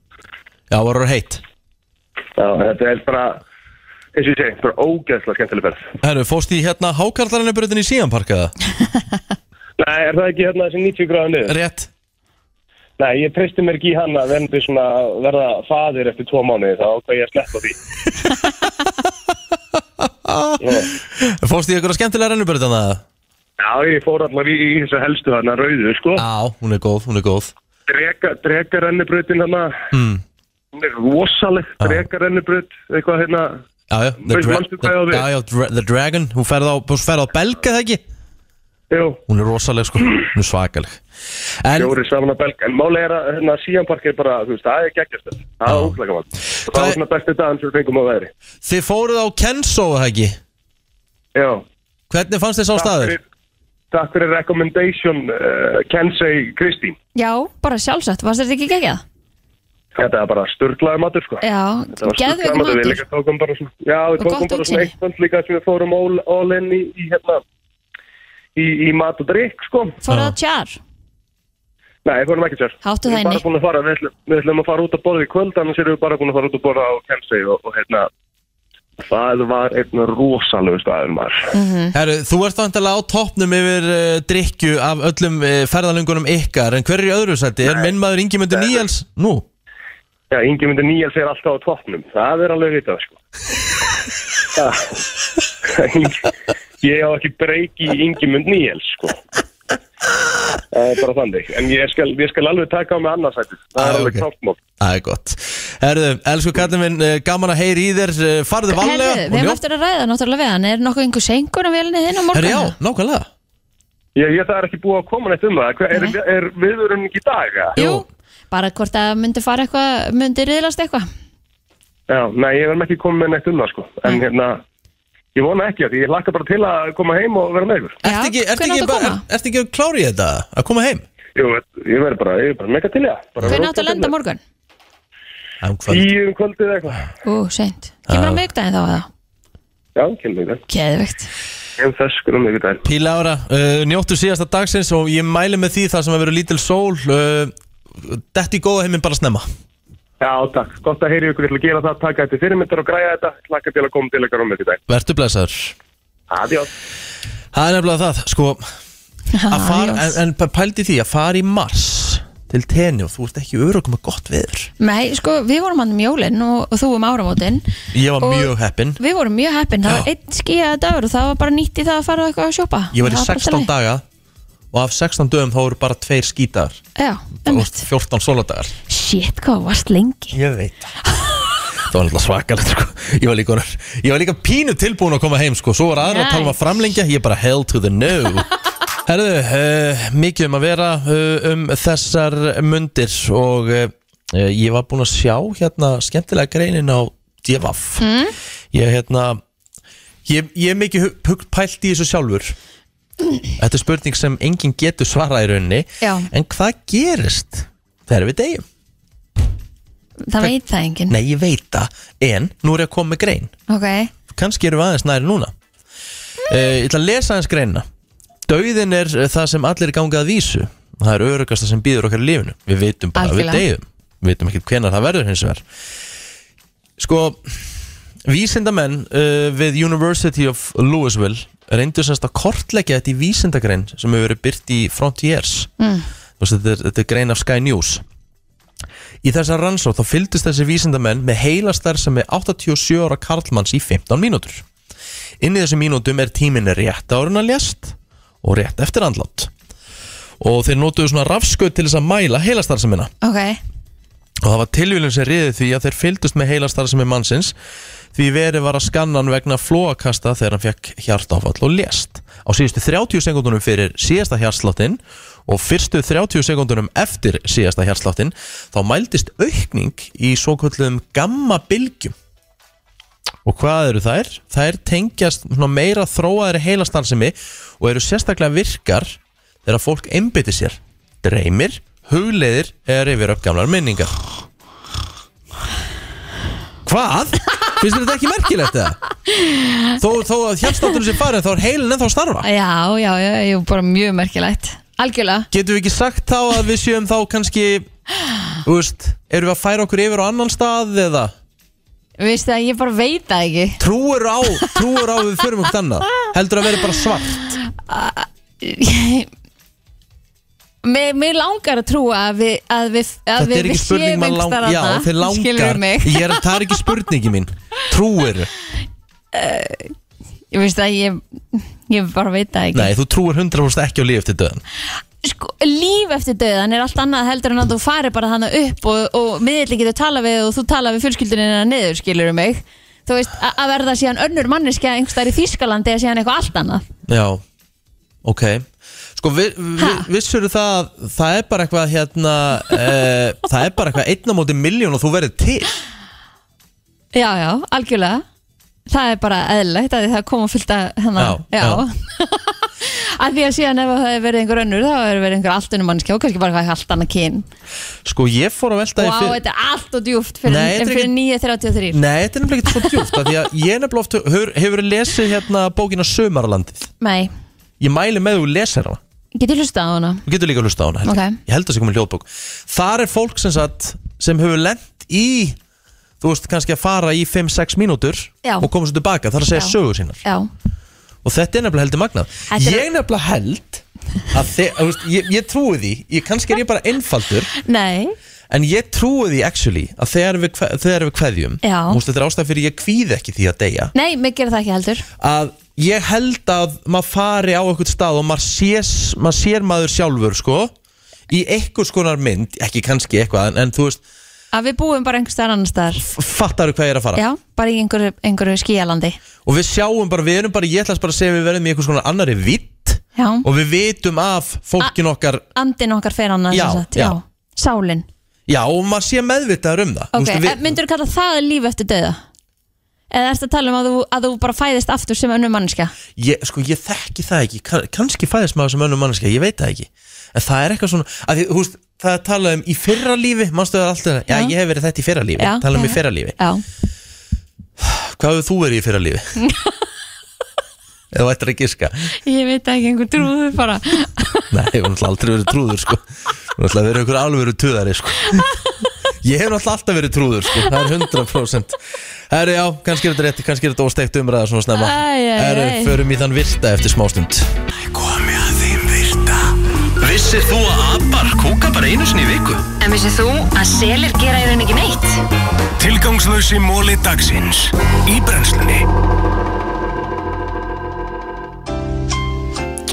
Já, voru heitt. Já, þetta er bara, eins og ég segi, bara ógeðslega skemmtileg ferð. Herru, fórst í hérna hákarlarinnabrutin í síðanparkaða? Nei, er það ekki hérna þessi 90 gráðu niður? Rétt. Nei, ég treysti mér ekki í hann að verði svona, verða fadir eftir tvo mánuði, þá ákvað ég að sleppa því. Fórst Ah. í ykkur að skemmtilega rennubröðan það? Já, ég fór allar í, í þessu helstu hann að rauðu, sko. Já. Hún er góð, hún er góð Drega, drega rennubröðin hann að, mm. hún er rosaleg, drega rennubröð, eitthvað hérna, Já, já, the, Veist, manstu hvað ég á við? já, já, dra the Dragon Hún ferð á, hún ferð á belg, eða ekki? Jú Hún er rosaleg, sko, hún er svakaleg en, fjóri saman að belga. En máli er að hérna, síjanpark er bara, þú veist, það er geggjast þetta. Það er ógæðslega mann. Og það var svona besti dagann sem við fengum á veðri. Þið fóruð á Kenzo, eða ekki? Já. Hvernig fannst þið sá Takk staður? fyrir- Takk fyrir recommendation, uh, Kensei Kristín. Já, bara sjálfsagt, varst þetta ekki gegjað? Þetta er bara sturglaði matur, sko. Já, Þetta var geðveikur sturglaður Við matur. líka tókum bara svona, já, við Og tókum gott bara útsýni. svona eitt band líka sem við fórum all, all in í, í hérna, í, í mat og drikk, sko. Fóruð það tjár? Nei, við fórum ekki sér. Háttu það Við erum bara inni. búin að fara, við ætlum, við ætlum að fara út að borða í kvöld, annars erum við bara búin að fara út að borða á Kensei og, og hérna, það var einn rosalegu staður maður. Mm. Herru, þú ert vantilega á toppnum yfir uh, drikju af öllum uh, ferðalöngunum ykkar En hver er í öðru sæti? Er minn maður Ingimundur Níels? Nú? Já, Ingemyndur Níels er alltaf á toppnum. Það er alveg vitað, sko. Það- Ingi- ég á ekki breyki í Ingemynd Níels, sko. Það er bara þannig. En ég skal, ég skal alveg taka á mig annarsætið. Það er Ah, alveg ok. klárt mál. Það er gott Herru, elsku kallin minn, uh, gaman að heyri í þér uh, Farðu Herðu, valega við hefum eftir að ræða náttúrulega við hann Er nokkuð einhver sengur á velinni þinn á morgun? Herru, já, nákvæmlega Ég, ég það er ekki búið að koma neitt um það. Hva, er, Mhm. er, er viðurinn ekki í dag? eða? Jú. Bara hvort að myndi fara eitthvað, myndi riðlast eitthvað Já, nei, ég verðum ekki komið með neitt um það, sko. Mm. En hérna, ég vona ekki að því ég hlakka bara til að koma heim og vera með ykkur. Ertu ekki, hvenær ertu ekki, áttu að bara- koma? ertu ekki klári í þetta? Að koma heim? Jú, ég verð bara, ég verð bara mega til í það. Bara Hvernig rosa áttu að til lenda í á morgun? það. Mm. Tíu um kvöldið eða eitthvað. Ú, seint Kemur á miðvikdæðin þá eða? Já, kemur í það. Geðvegt Ég þess skulum ekki dæl Píla ára, uh, njóttu síðasta dagsins og ég mæli með því þar sem að vera lítil sól uh, Detti í góða heiminn bara snemma Já, takk, gott að heyri ykkur, ég ætla að gera það, taka þetta fyrirmyndar og græja þetta, hlakka til að koma til ykkar um þetta í dag. Vertu blessaður Adjós. Það er nefnilega það, sko að fara, en, en pældi því að fara í mars til tenni og þú ert ekki örugum með gott viður Nei, sko, við vorum hann um jólinn og, og þú um áramótin Ég var Og- mjög heppin Við vorum mjög heppin, það var einn skíðað dagur og það var bara nýtt í það að fara eitthvað að sjópa Ég var í Það bara 16 allt lagi. daga og af 16 dögum þá eru bara tveir skítar Já, og 14 sóladagar shit, hvað þú varst lengi Ég veit Það var alltaf svakalegt sko. ég, var líka, ég var líka pínu tilbúin að koma heim sko. Svo var aðra að tala um að framlengja Ég bara hell to the no Herðu, uh, mikið um að vera uh, um þessar mundir og uh, ég var búin að sjá hérna skemmtilega greinin á Devaf Mm. Ég hérna Ég, ég er mikið hu- hug- pælt í þessu sjálfur Þetta er spurning sem enginn getur svarað í rauninni Já. En hvað gerist þegar við deyjum? Það veit það enginn Nei, ég veit það, en nú er ég að koma með grein Ok, Kanski erum við aðeins næri núna uh, Ég ætla að lesa aðeins greinina Dauðin er eh, það sem allir gangað vísu Það er örugasta sem býður okkar í lífinu Við veitum bara að við Algjörlega. deyðum Við veitum ekkert hvenær það verður hins vegar Sko Vísindamenn uh, við University of Louisville reyndu semst að kortleggja þetta í vísindagrein sem hefur verið byrt í Frontiers Mm. Þú veist, þetta, er, þetta er grein af Sky News Í þessar rannsóð þá fylgdust þessi vísindamenn með heila starfsemi 87 ára karlmanns í 15 mínútur. Inn í þessu mínútum er tíminn rétt árun að lést og rétt eftir andlátt. Og þeir notuðu svona rafskaut til þess að mæla heila starfsemina. Ok, Og það var tilvílun sem riðið því að þeir fylgdust með heila starfsemi mannsins því verið var að skanna hann vegna flóakasta þegar hann fekk hjartáfall og lést. Á síðustu 30 sekundunum fyrir síðasta hjartsláttinn og fyrstu 30 sekundunum eftir síðasta hjartsláttinn þá mældist aukning í svo kvöldum gamma bylgjum. Og hvað eru þær? Þær tengjast svona meira þróaðri heilastarfsemi og eru sérstaklega virkar þegar fólk einbyttir sér, dreymir, hugleiðir eða rifir upp gamlar minningar. Hvað? Finnst þér þetta ekki merkilegt eða? Þó, þó að hjálpstáttunum sé farin þá er heilin ennþá að starfa. já, já, já, já, bara mjög merkilegt Algjörlega Getum við ekki sagt þá að við séum þá kannski, þú veist, erum við að færa okkur yfir á annan stað eða? Veistu að ég bara veit það ekki Trúur á, trúur á að við förum okkur annað? Heldur að vera bara svart? Mér, mér langar að trúa að við, að við, að Þetta við, er ekki við spurning séum maður einhvers langar staðar Já, þarna, þeir langar skilurðu mig. Ég er, Það er ekki spurningi mín Trúir Ég veist að ég, ég bara veit það ekki Nei, þú trúir 100% ekki á líf eftir döðan sko, Líf eftir döðan er allt annað heldur en að þú farir bara þannig upp og, og miðli getur tala við og þú tala við fjölskyldunina niður, skilur mig Þú veist, að- að verða síðan önnur manneskja einhvers staðar í Þýskalandi eða síðan eitthvað allt annað Já, ok Sko, vi, vi, vissur það að Það er bara eitthvað hérna e, Það er bara eitthvað einna móti miljón og þú verður til Já, já, algjörlega Það er bara eðlilegt að því það kom að fylta hennar Já, já. að því að síðan ef það hefur verið einhver önnur þá hefur verið einhver allt önnur mannskja og kannski bara eitthvað allt annað kyn Sko, ég fór að velta Vá, því fyrir- þetta er allt og djúft fyrir, Nei, þetta er en fyrir 9.33 Nei, þetta er nefnilega ekki svo djúft af Því að ég nefnilega oft hefur, hefur lesið hérna bókina Sömarlandið Nei, Ég mæli með þú lesir hana getur hlusta á hana Þú getur líka að hlusta á hana held ég. Ok. Ég held að það sé komið hljóðbók Þar er fólk sem sagt sem hefur lent í þú veist kannski að fara í 5-6 mínútur Já. og koma svo tilbaka þar að segja Já. sögur sínar Já, og þetta er nefnilega heldur magnað Þetta er- Ég nefnilega held að þið, að, þú veist, ég, ég trúi því, ég, kannski er ég bara einfaldur nei, en ég trúi því actually að þegar við, kve- þegar við kveðjum Já. þú veist, þetta er ástæð fyrir ég kvíð ekki því að deyja nei, mig gerir það ekki heldur að ég held að maður fari á eitthvað stað og maður sér, maður sér maður sjálfur sko í eitthvað skonar mynd, ekki kannski eitthvað en, en þú veist, að við búum bara einhvers staðar annars staðar fattaru hvað ég er að fara Já, bara í einhverju, einhverju skíalandi og við sjáum bara, við erum bara, ég ætlas bara að segja við verðum í eitthvað skonar annari vitt Já, og við vitum af fólkin Ah. okkar andin okkar fer annars sem Já, sagt. já. Sálin já og maður sé meðvitaður um það Ok, Þú við... veist, myndur þú kalla það líf eftir döða? Eða ertu að tala um að þú, að þú bara fæðist aftur sem önnur manneskja? við, ég, sko ég þekki það ekki kann, kannski fæðist maður sem önnum mannskja, ég veit það ekki en það er eitthvað svona, að því, húst, það er talað um í fyrra lífi, mannstu það alltaf já, Já. ég hef verið þetta í fyrra lífi, Já, talað um já. í fyrra lífi Já, Hvað hefur þú verið í fyrra lífi? Eða þú ættir að giska ég veit ekki, einhver trúðu bara Nei, ég hef náttúrulega aldrei verið trúður sko Ég hef náttúrulega verið einhver alvöru tuðari sko Ég hef náttúrulega alltaf verið trúður sko Það er 100% Herru já, kannski er þetta rétt, kannski er þetta ósteikt umræða svona Æ, snemma æ, æ. Herru, förum í þann virta eftir smástund Komið að þeim virta Vissir þú að abar kúka bara einu sinni í viku? En vissið þú að selir gera í rauninni ekki neitt? Tilgangslösi móli dagsins Í brennslunni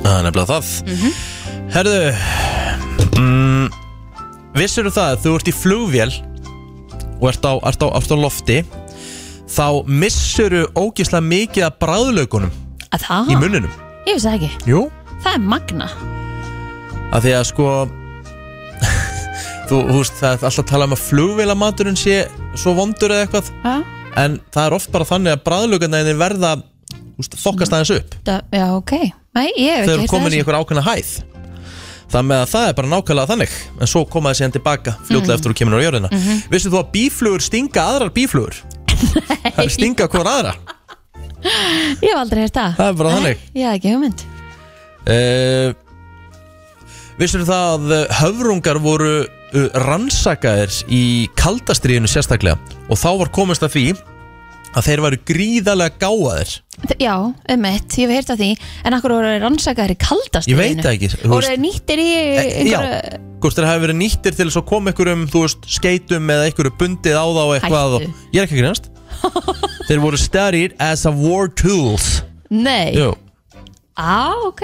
Það er nefnilega það Herru mm, Vissir þú það að þú ert í flugvél og ert á, ert á, ert á lofti þá missur þú ógislega mikið af bræðlaugunum Að það? í munninum Ég veist það ekki, Jú það er magna Af því að sko Þú þú veist það er alltaf að tala um að flugvélamaturinn sé svo vondur eða eitthvað ha? En það er oft bara þannig að bræðlaugarnæðinni verða þú veist, Þokkast aðeins upp Da, Já, ok, nei, ég hef Þau ekki eru heyrt komin í þessu. einhverja ákveðna hæð Það með að það er bara nákvæmlega þannig En svo koma þessi hann tilbaka fljótlega Mhm. eftir þú kemur á jörðina mm Mhm. Vissu þú að bíflugur stinga aðrar bíflugur? Það er stinga hvora aðra Ég hef aldrei heyrt það Það er bara þannig Ég hef ekki hugmynd Uh, Vissur það að eh, höfrungar voru eh, uh, rannsakaðir í kaldastriðinu sérstaklega og þá var komist að því að þeir væru gríðarlega gáðir Þ- Já, um mitt, ég hef heyrt af því En akkur voru þeir rannsakaðir í kaldast Ég veit það ekki, Voru þú veist- Eh, þeir nýttir í Já, E, einhverju- hvort þeir hafi verið nýttir til þess að koma einhverjum, þú veist, skeitum eða einhverju bundið á þá eitthvað og, Hættu. Ég er ekki að grínast Þeir voru studied as a war tools Nei Jú Á, ok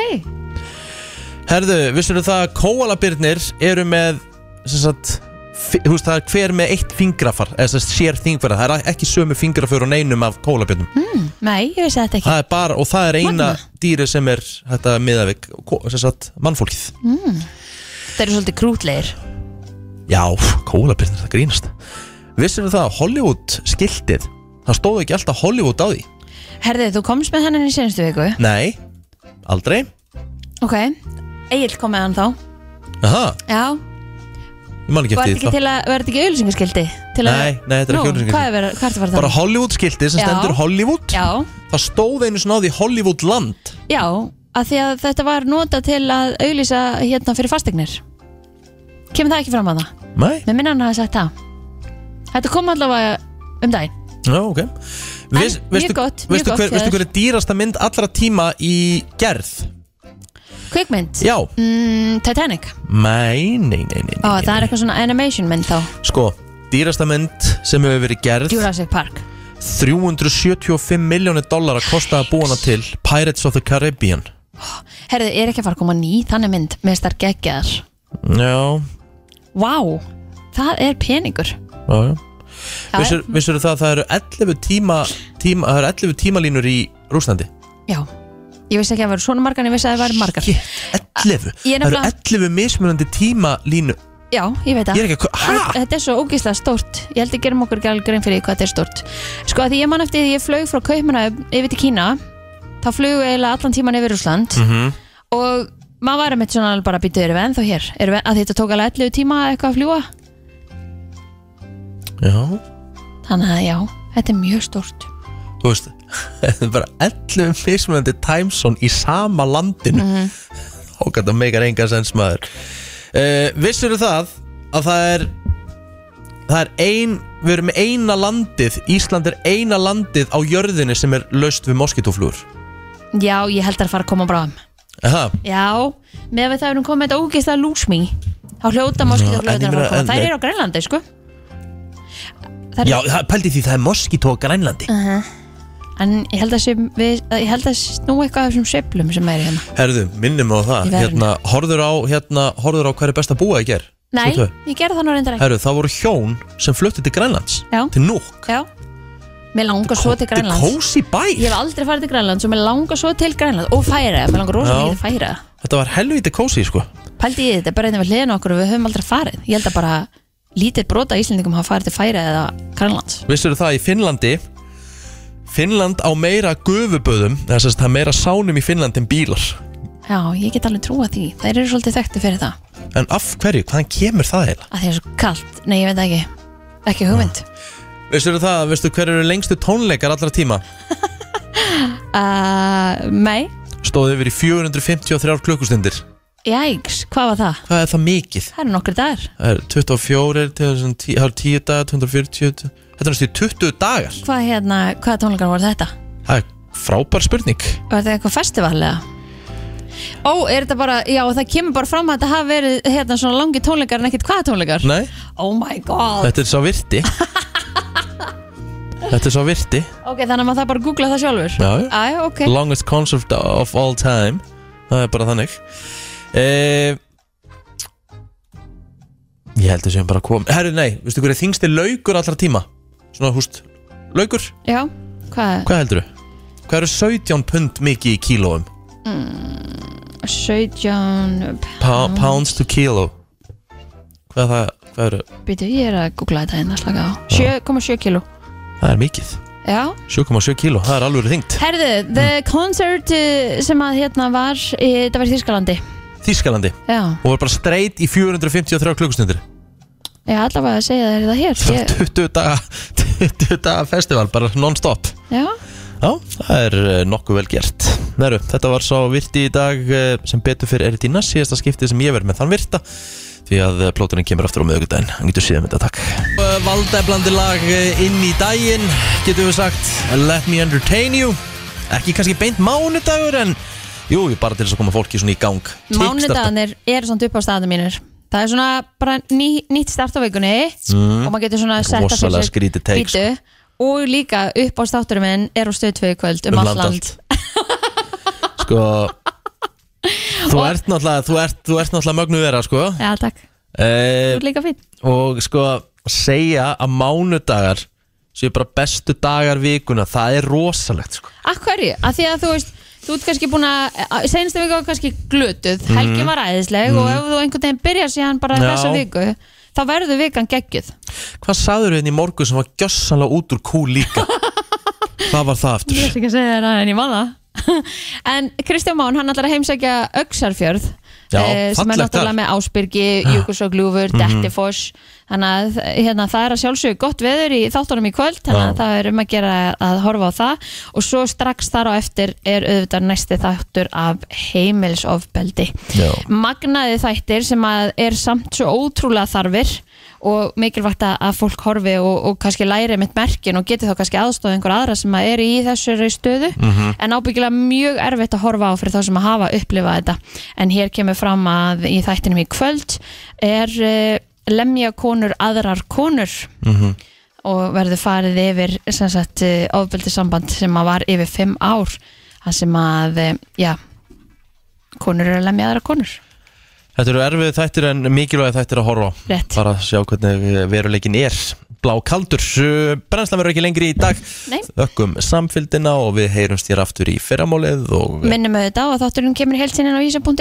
Herðu, vissur það að kóalabirnir eru með sem sagt, fi- þú veist, það er hver með eitt fingrafar eða sem sagt, sér fingrafar, það er ekki sömu fingrafur og neinum af kóalabirnum mm, Nei, ég vissi þetta ekki Það er bara, og það er eina dýri sem er þetta miðavik, sem sagt, mannfólkið mm. Þeir eru svolítið krútlegir Já, kólabirnir, það grínast Vissir það að Hollywood skiltið Það stóð ekki alltaf Hollywood á því Herðið, þú komst með hennan í senstu viku Nei, aldrei Ok, Egil kom með hann þá Aha, Já, ég man ekki var eftir þetta ekki því til að, var þetta ekki auðlýsingaskildi? Nei, nei, þetta er ekki auglýsingaskilti. Hvað er verið, hvað er þetta Bara Hollywood skiltið sem Já. stendur Hollywood Já, Það stóð einu svona á því Hollywood land já, að því að þetta var nota til að auðlýsa hérna fyrir fastegnir Kemur það ekki fram að það? Nei Með minna hann hafi sagt það Þetta kom allavega um daginn Já, ok Viss, mjög gott, mjög gott veistu hver, hjá veistu þér. hver er dýrasta mynd allra tíma í gerð? Kvikmynd? Já. mm, Titanic? Nei, nei, nei, nei, Ó, það er eitthvað svona animation mynd þá nei Sko, dýrasta mynd sem hefur verið gerð Jurassic Park 375 miljónir dólar að kosta að búa hana til Pirates of the Caribbean Herðið, er ekki að fara að koma ný þannig mynd með starf geggjaðar Já, Vá, það er peningur já, já Já, Vissur, vissur það að það eru 11 tíma, tíma það eru 11 tímalínur í Rúslandi Já, ég vissi ekki að það voru svona margar en ég vissi að það væri margar 11, Ég er það eru nefnilega- 11 mismunandi tímalínu Já, ég veit það Ég er ekki að kau- Ha? Þetta- Þetta er svo ógeðslega stórt Ég held að gerum okkur gæl grein fyrir því hvað þetta er stórt Sko að því ég man eftir því ég flög frá Kaupmanna yfir til Kína Þá flög eiginlega allan tíman yfir Úsland Mhm. Og maður var einmitt svona alveg bara býtu Erum við ennþá hér? Erum við, að þetta tók alveg 11 tíma eitthvað að fljúa Já, Þannig að já, þetta er mjög stórt þú veist það eru bara 11 mismunandi timezone í sama landinu mm Mhm. og þetta meikar enga sens maður uh, Vissur það að það er það er ein við erum með eina landið Ísland er eina landið á jörðinni sem er laust við moskitoflúr Já, ég held að fara að koma bráðum Aha, Já, með að við það erum komið þetta ógeðslega lúsmi Þá hljóta moskítur Já, en ég fljóðunar að fara meina- að koma en- Þær eru á Grænlandi, sko Þær Já, það- pældi því það er moskító á Grænlandi uh En ég held að, sem, við, að ég held að snú eitthvað af þessum sveiflum sem er hérna Herðu, minnum á það Í verðinu. hérna, horður, á, hérna, horður á hver er best að búa í ger Nei, ég gerði það nú reyndar ekki Herðu, það voru hjón sem fluttu til Grænlands Já. til Núk Já, mér langar svo til Grænlands kósí bær Ég hef aldrei farið til Grænlands og mér langar svo til Grænlands og færa, mér langar rosa Já. mikið til færa Þetta var helviti kósí sko Pældi ég þetta, bara einnig við hliðin á okkur og við höfum aldrei farið Ég held að bara lítið brota Íslendingum hafa farið til færa eða Grænlands Vissur það í Finnlandi Finnland á meira gufuböðum eða sem sagt, það er meira sánum í Finnland en bílar Já, ég get alveg trúa því, þær eru svolítið þekkti fyrir það En af hverju, hvaðan kemur það heila? að því er svo kallt, nei ég veit það ekki ekki hugmynd Vissur það, veistu hver eru lengstu tónleikar allra tíma? uh, nei, Stóðu yfir í 453 klukkustundir jæks, hvað var það? Hvað er það mikið? það eru nokkri dagar, Það er 24, til þessum tí- það eru 10 dagar, 240 Þetta er næstu í 20 dagar hvað hérna hvaða tónleikar voru þetta? Það er frábær spurning var þetta eitthvað festival eða? ó, er þetta bara, já það kemur bara fram að þetta hafi verið hérna svona langi tónleikar en ekkert hvaða tónleikar Nei, oh my god, þetta er sá virti Þetta er sá virti ok þannig að maður það bara að googla það sjálfur Já, já. Æ, ok, Longest concert of all time Það er bara þannig eh, Ég held að sem bara kom Herru, nei, veistu hverju þingsti laukur allra tíma? Svona, húst, laukur? já, hvað Hvað heldur þú? Hvað eru 17 pund mikið í kílóum? mm, 17 Pa pounds to kilo Hvað er það? Hvað eru? býtu, ég er að googla þetta hérna slaka á 7,7 kilo, Það er mikið já 7,7 kíló, það er alveg þingt Herðu, the Mm. concert uh, sem að hérna var, í, þetta var í Þískalandi Þískalandi Já, Og var bara streit í 453 klukkustundir ég ætla bara að segja þér það hér ég, 20 daga 20 daga festival, bara non-stop Já, Já, það er eh, nokkuð vel gert Næru, þetta var sá virti í dag eh, sem betur fyrir er í dýna síðasta skiptið sem ég verð með þann virta því að eh, plóturinn kemur aftur á miðugudaginn hann getur síðan með þetta takk uh, valdæblandi lag uh, inn í daginn getum við sagt Let Me Entertain You ekki kannski beint mánudagur en jú, bara til þess að koma fólki svona í gang Kickstarta. Mánudagarnir eru samt upp á staðinu mínir Það er svona bara ný, nýtt start á vikunni Mm. og maður getur svona setta Rosalega skrítið take, bíddu, og líka upp á státturum minn er á stöð 2 í kvöld um, Um um land allt land sko þú ert náttúrulega þú ert, þú ert náttúrulega mögnu vera sko Já, takk, þú uh, ert líka fín og sko segja að mánudagar séu bara bestu dagar vikuna það er rosalegt sko Af hverju? Af því að þú veist Þú ert kannski búin að, að- seinustu viku var kannski glötuð, Mhm. helgin var æðisleg og Mhm. ef þú einhvern veginn byrjar síðan bara Já. þessa viku, þá verður vikan geggjuð. hvað sagður við henni í morgun sem var gjössanlega út úr kú líka hvað var það aftur Ég ætla ekki að segja þér það en ég man það En Kristján Mán, hann ætlar að heimsækja Öxarfjörð Já, eh, sem er fallegt náttúrulega þar. Ah. með Ásbyrgi, Júkusogljúfur, Mhm. Dettifoss þannig að hérna, það er að sjálfsögja gott veður í þáttunum í kvöld þannig að Já. það er um að gera að horfa á það og svo strax þar á eftir er auðvitað næsti þáttur af heimilsofbeldi Já. magnaði þættir sem að er samt svo ótrúlega þarfir og mikilvægt að að fólk horfi og, og kannski læri mitt merkin og geti þá kannski aðstofa einhver aðra sem að er í þessari stöðu Mhm. en ábyggilega mjög erfitt að horfa á fyrir þá sem að hafa upplifað þetta en hér kemur fram að í þættinum í kvöld er uh, lemja konur aðrar konur Mhm. og verður farið yfir sem sagt ofbeldi samband sem að var yfir 5 ár það sem að, eh, já konur eru að lemja aðra konur Þetta eru erfið þættir en mikilvæg þættir að horfa á. Rétt. Bara að sjá hvernig veruleikin er Blá kaldur Brennslan verður ekki lengri í dag Nei. Ökkum samfylgdina og við heyrumst hér aftur í fyrramálið og minnum auðvitað á að þátturinn kemur heilsininn á ísa.is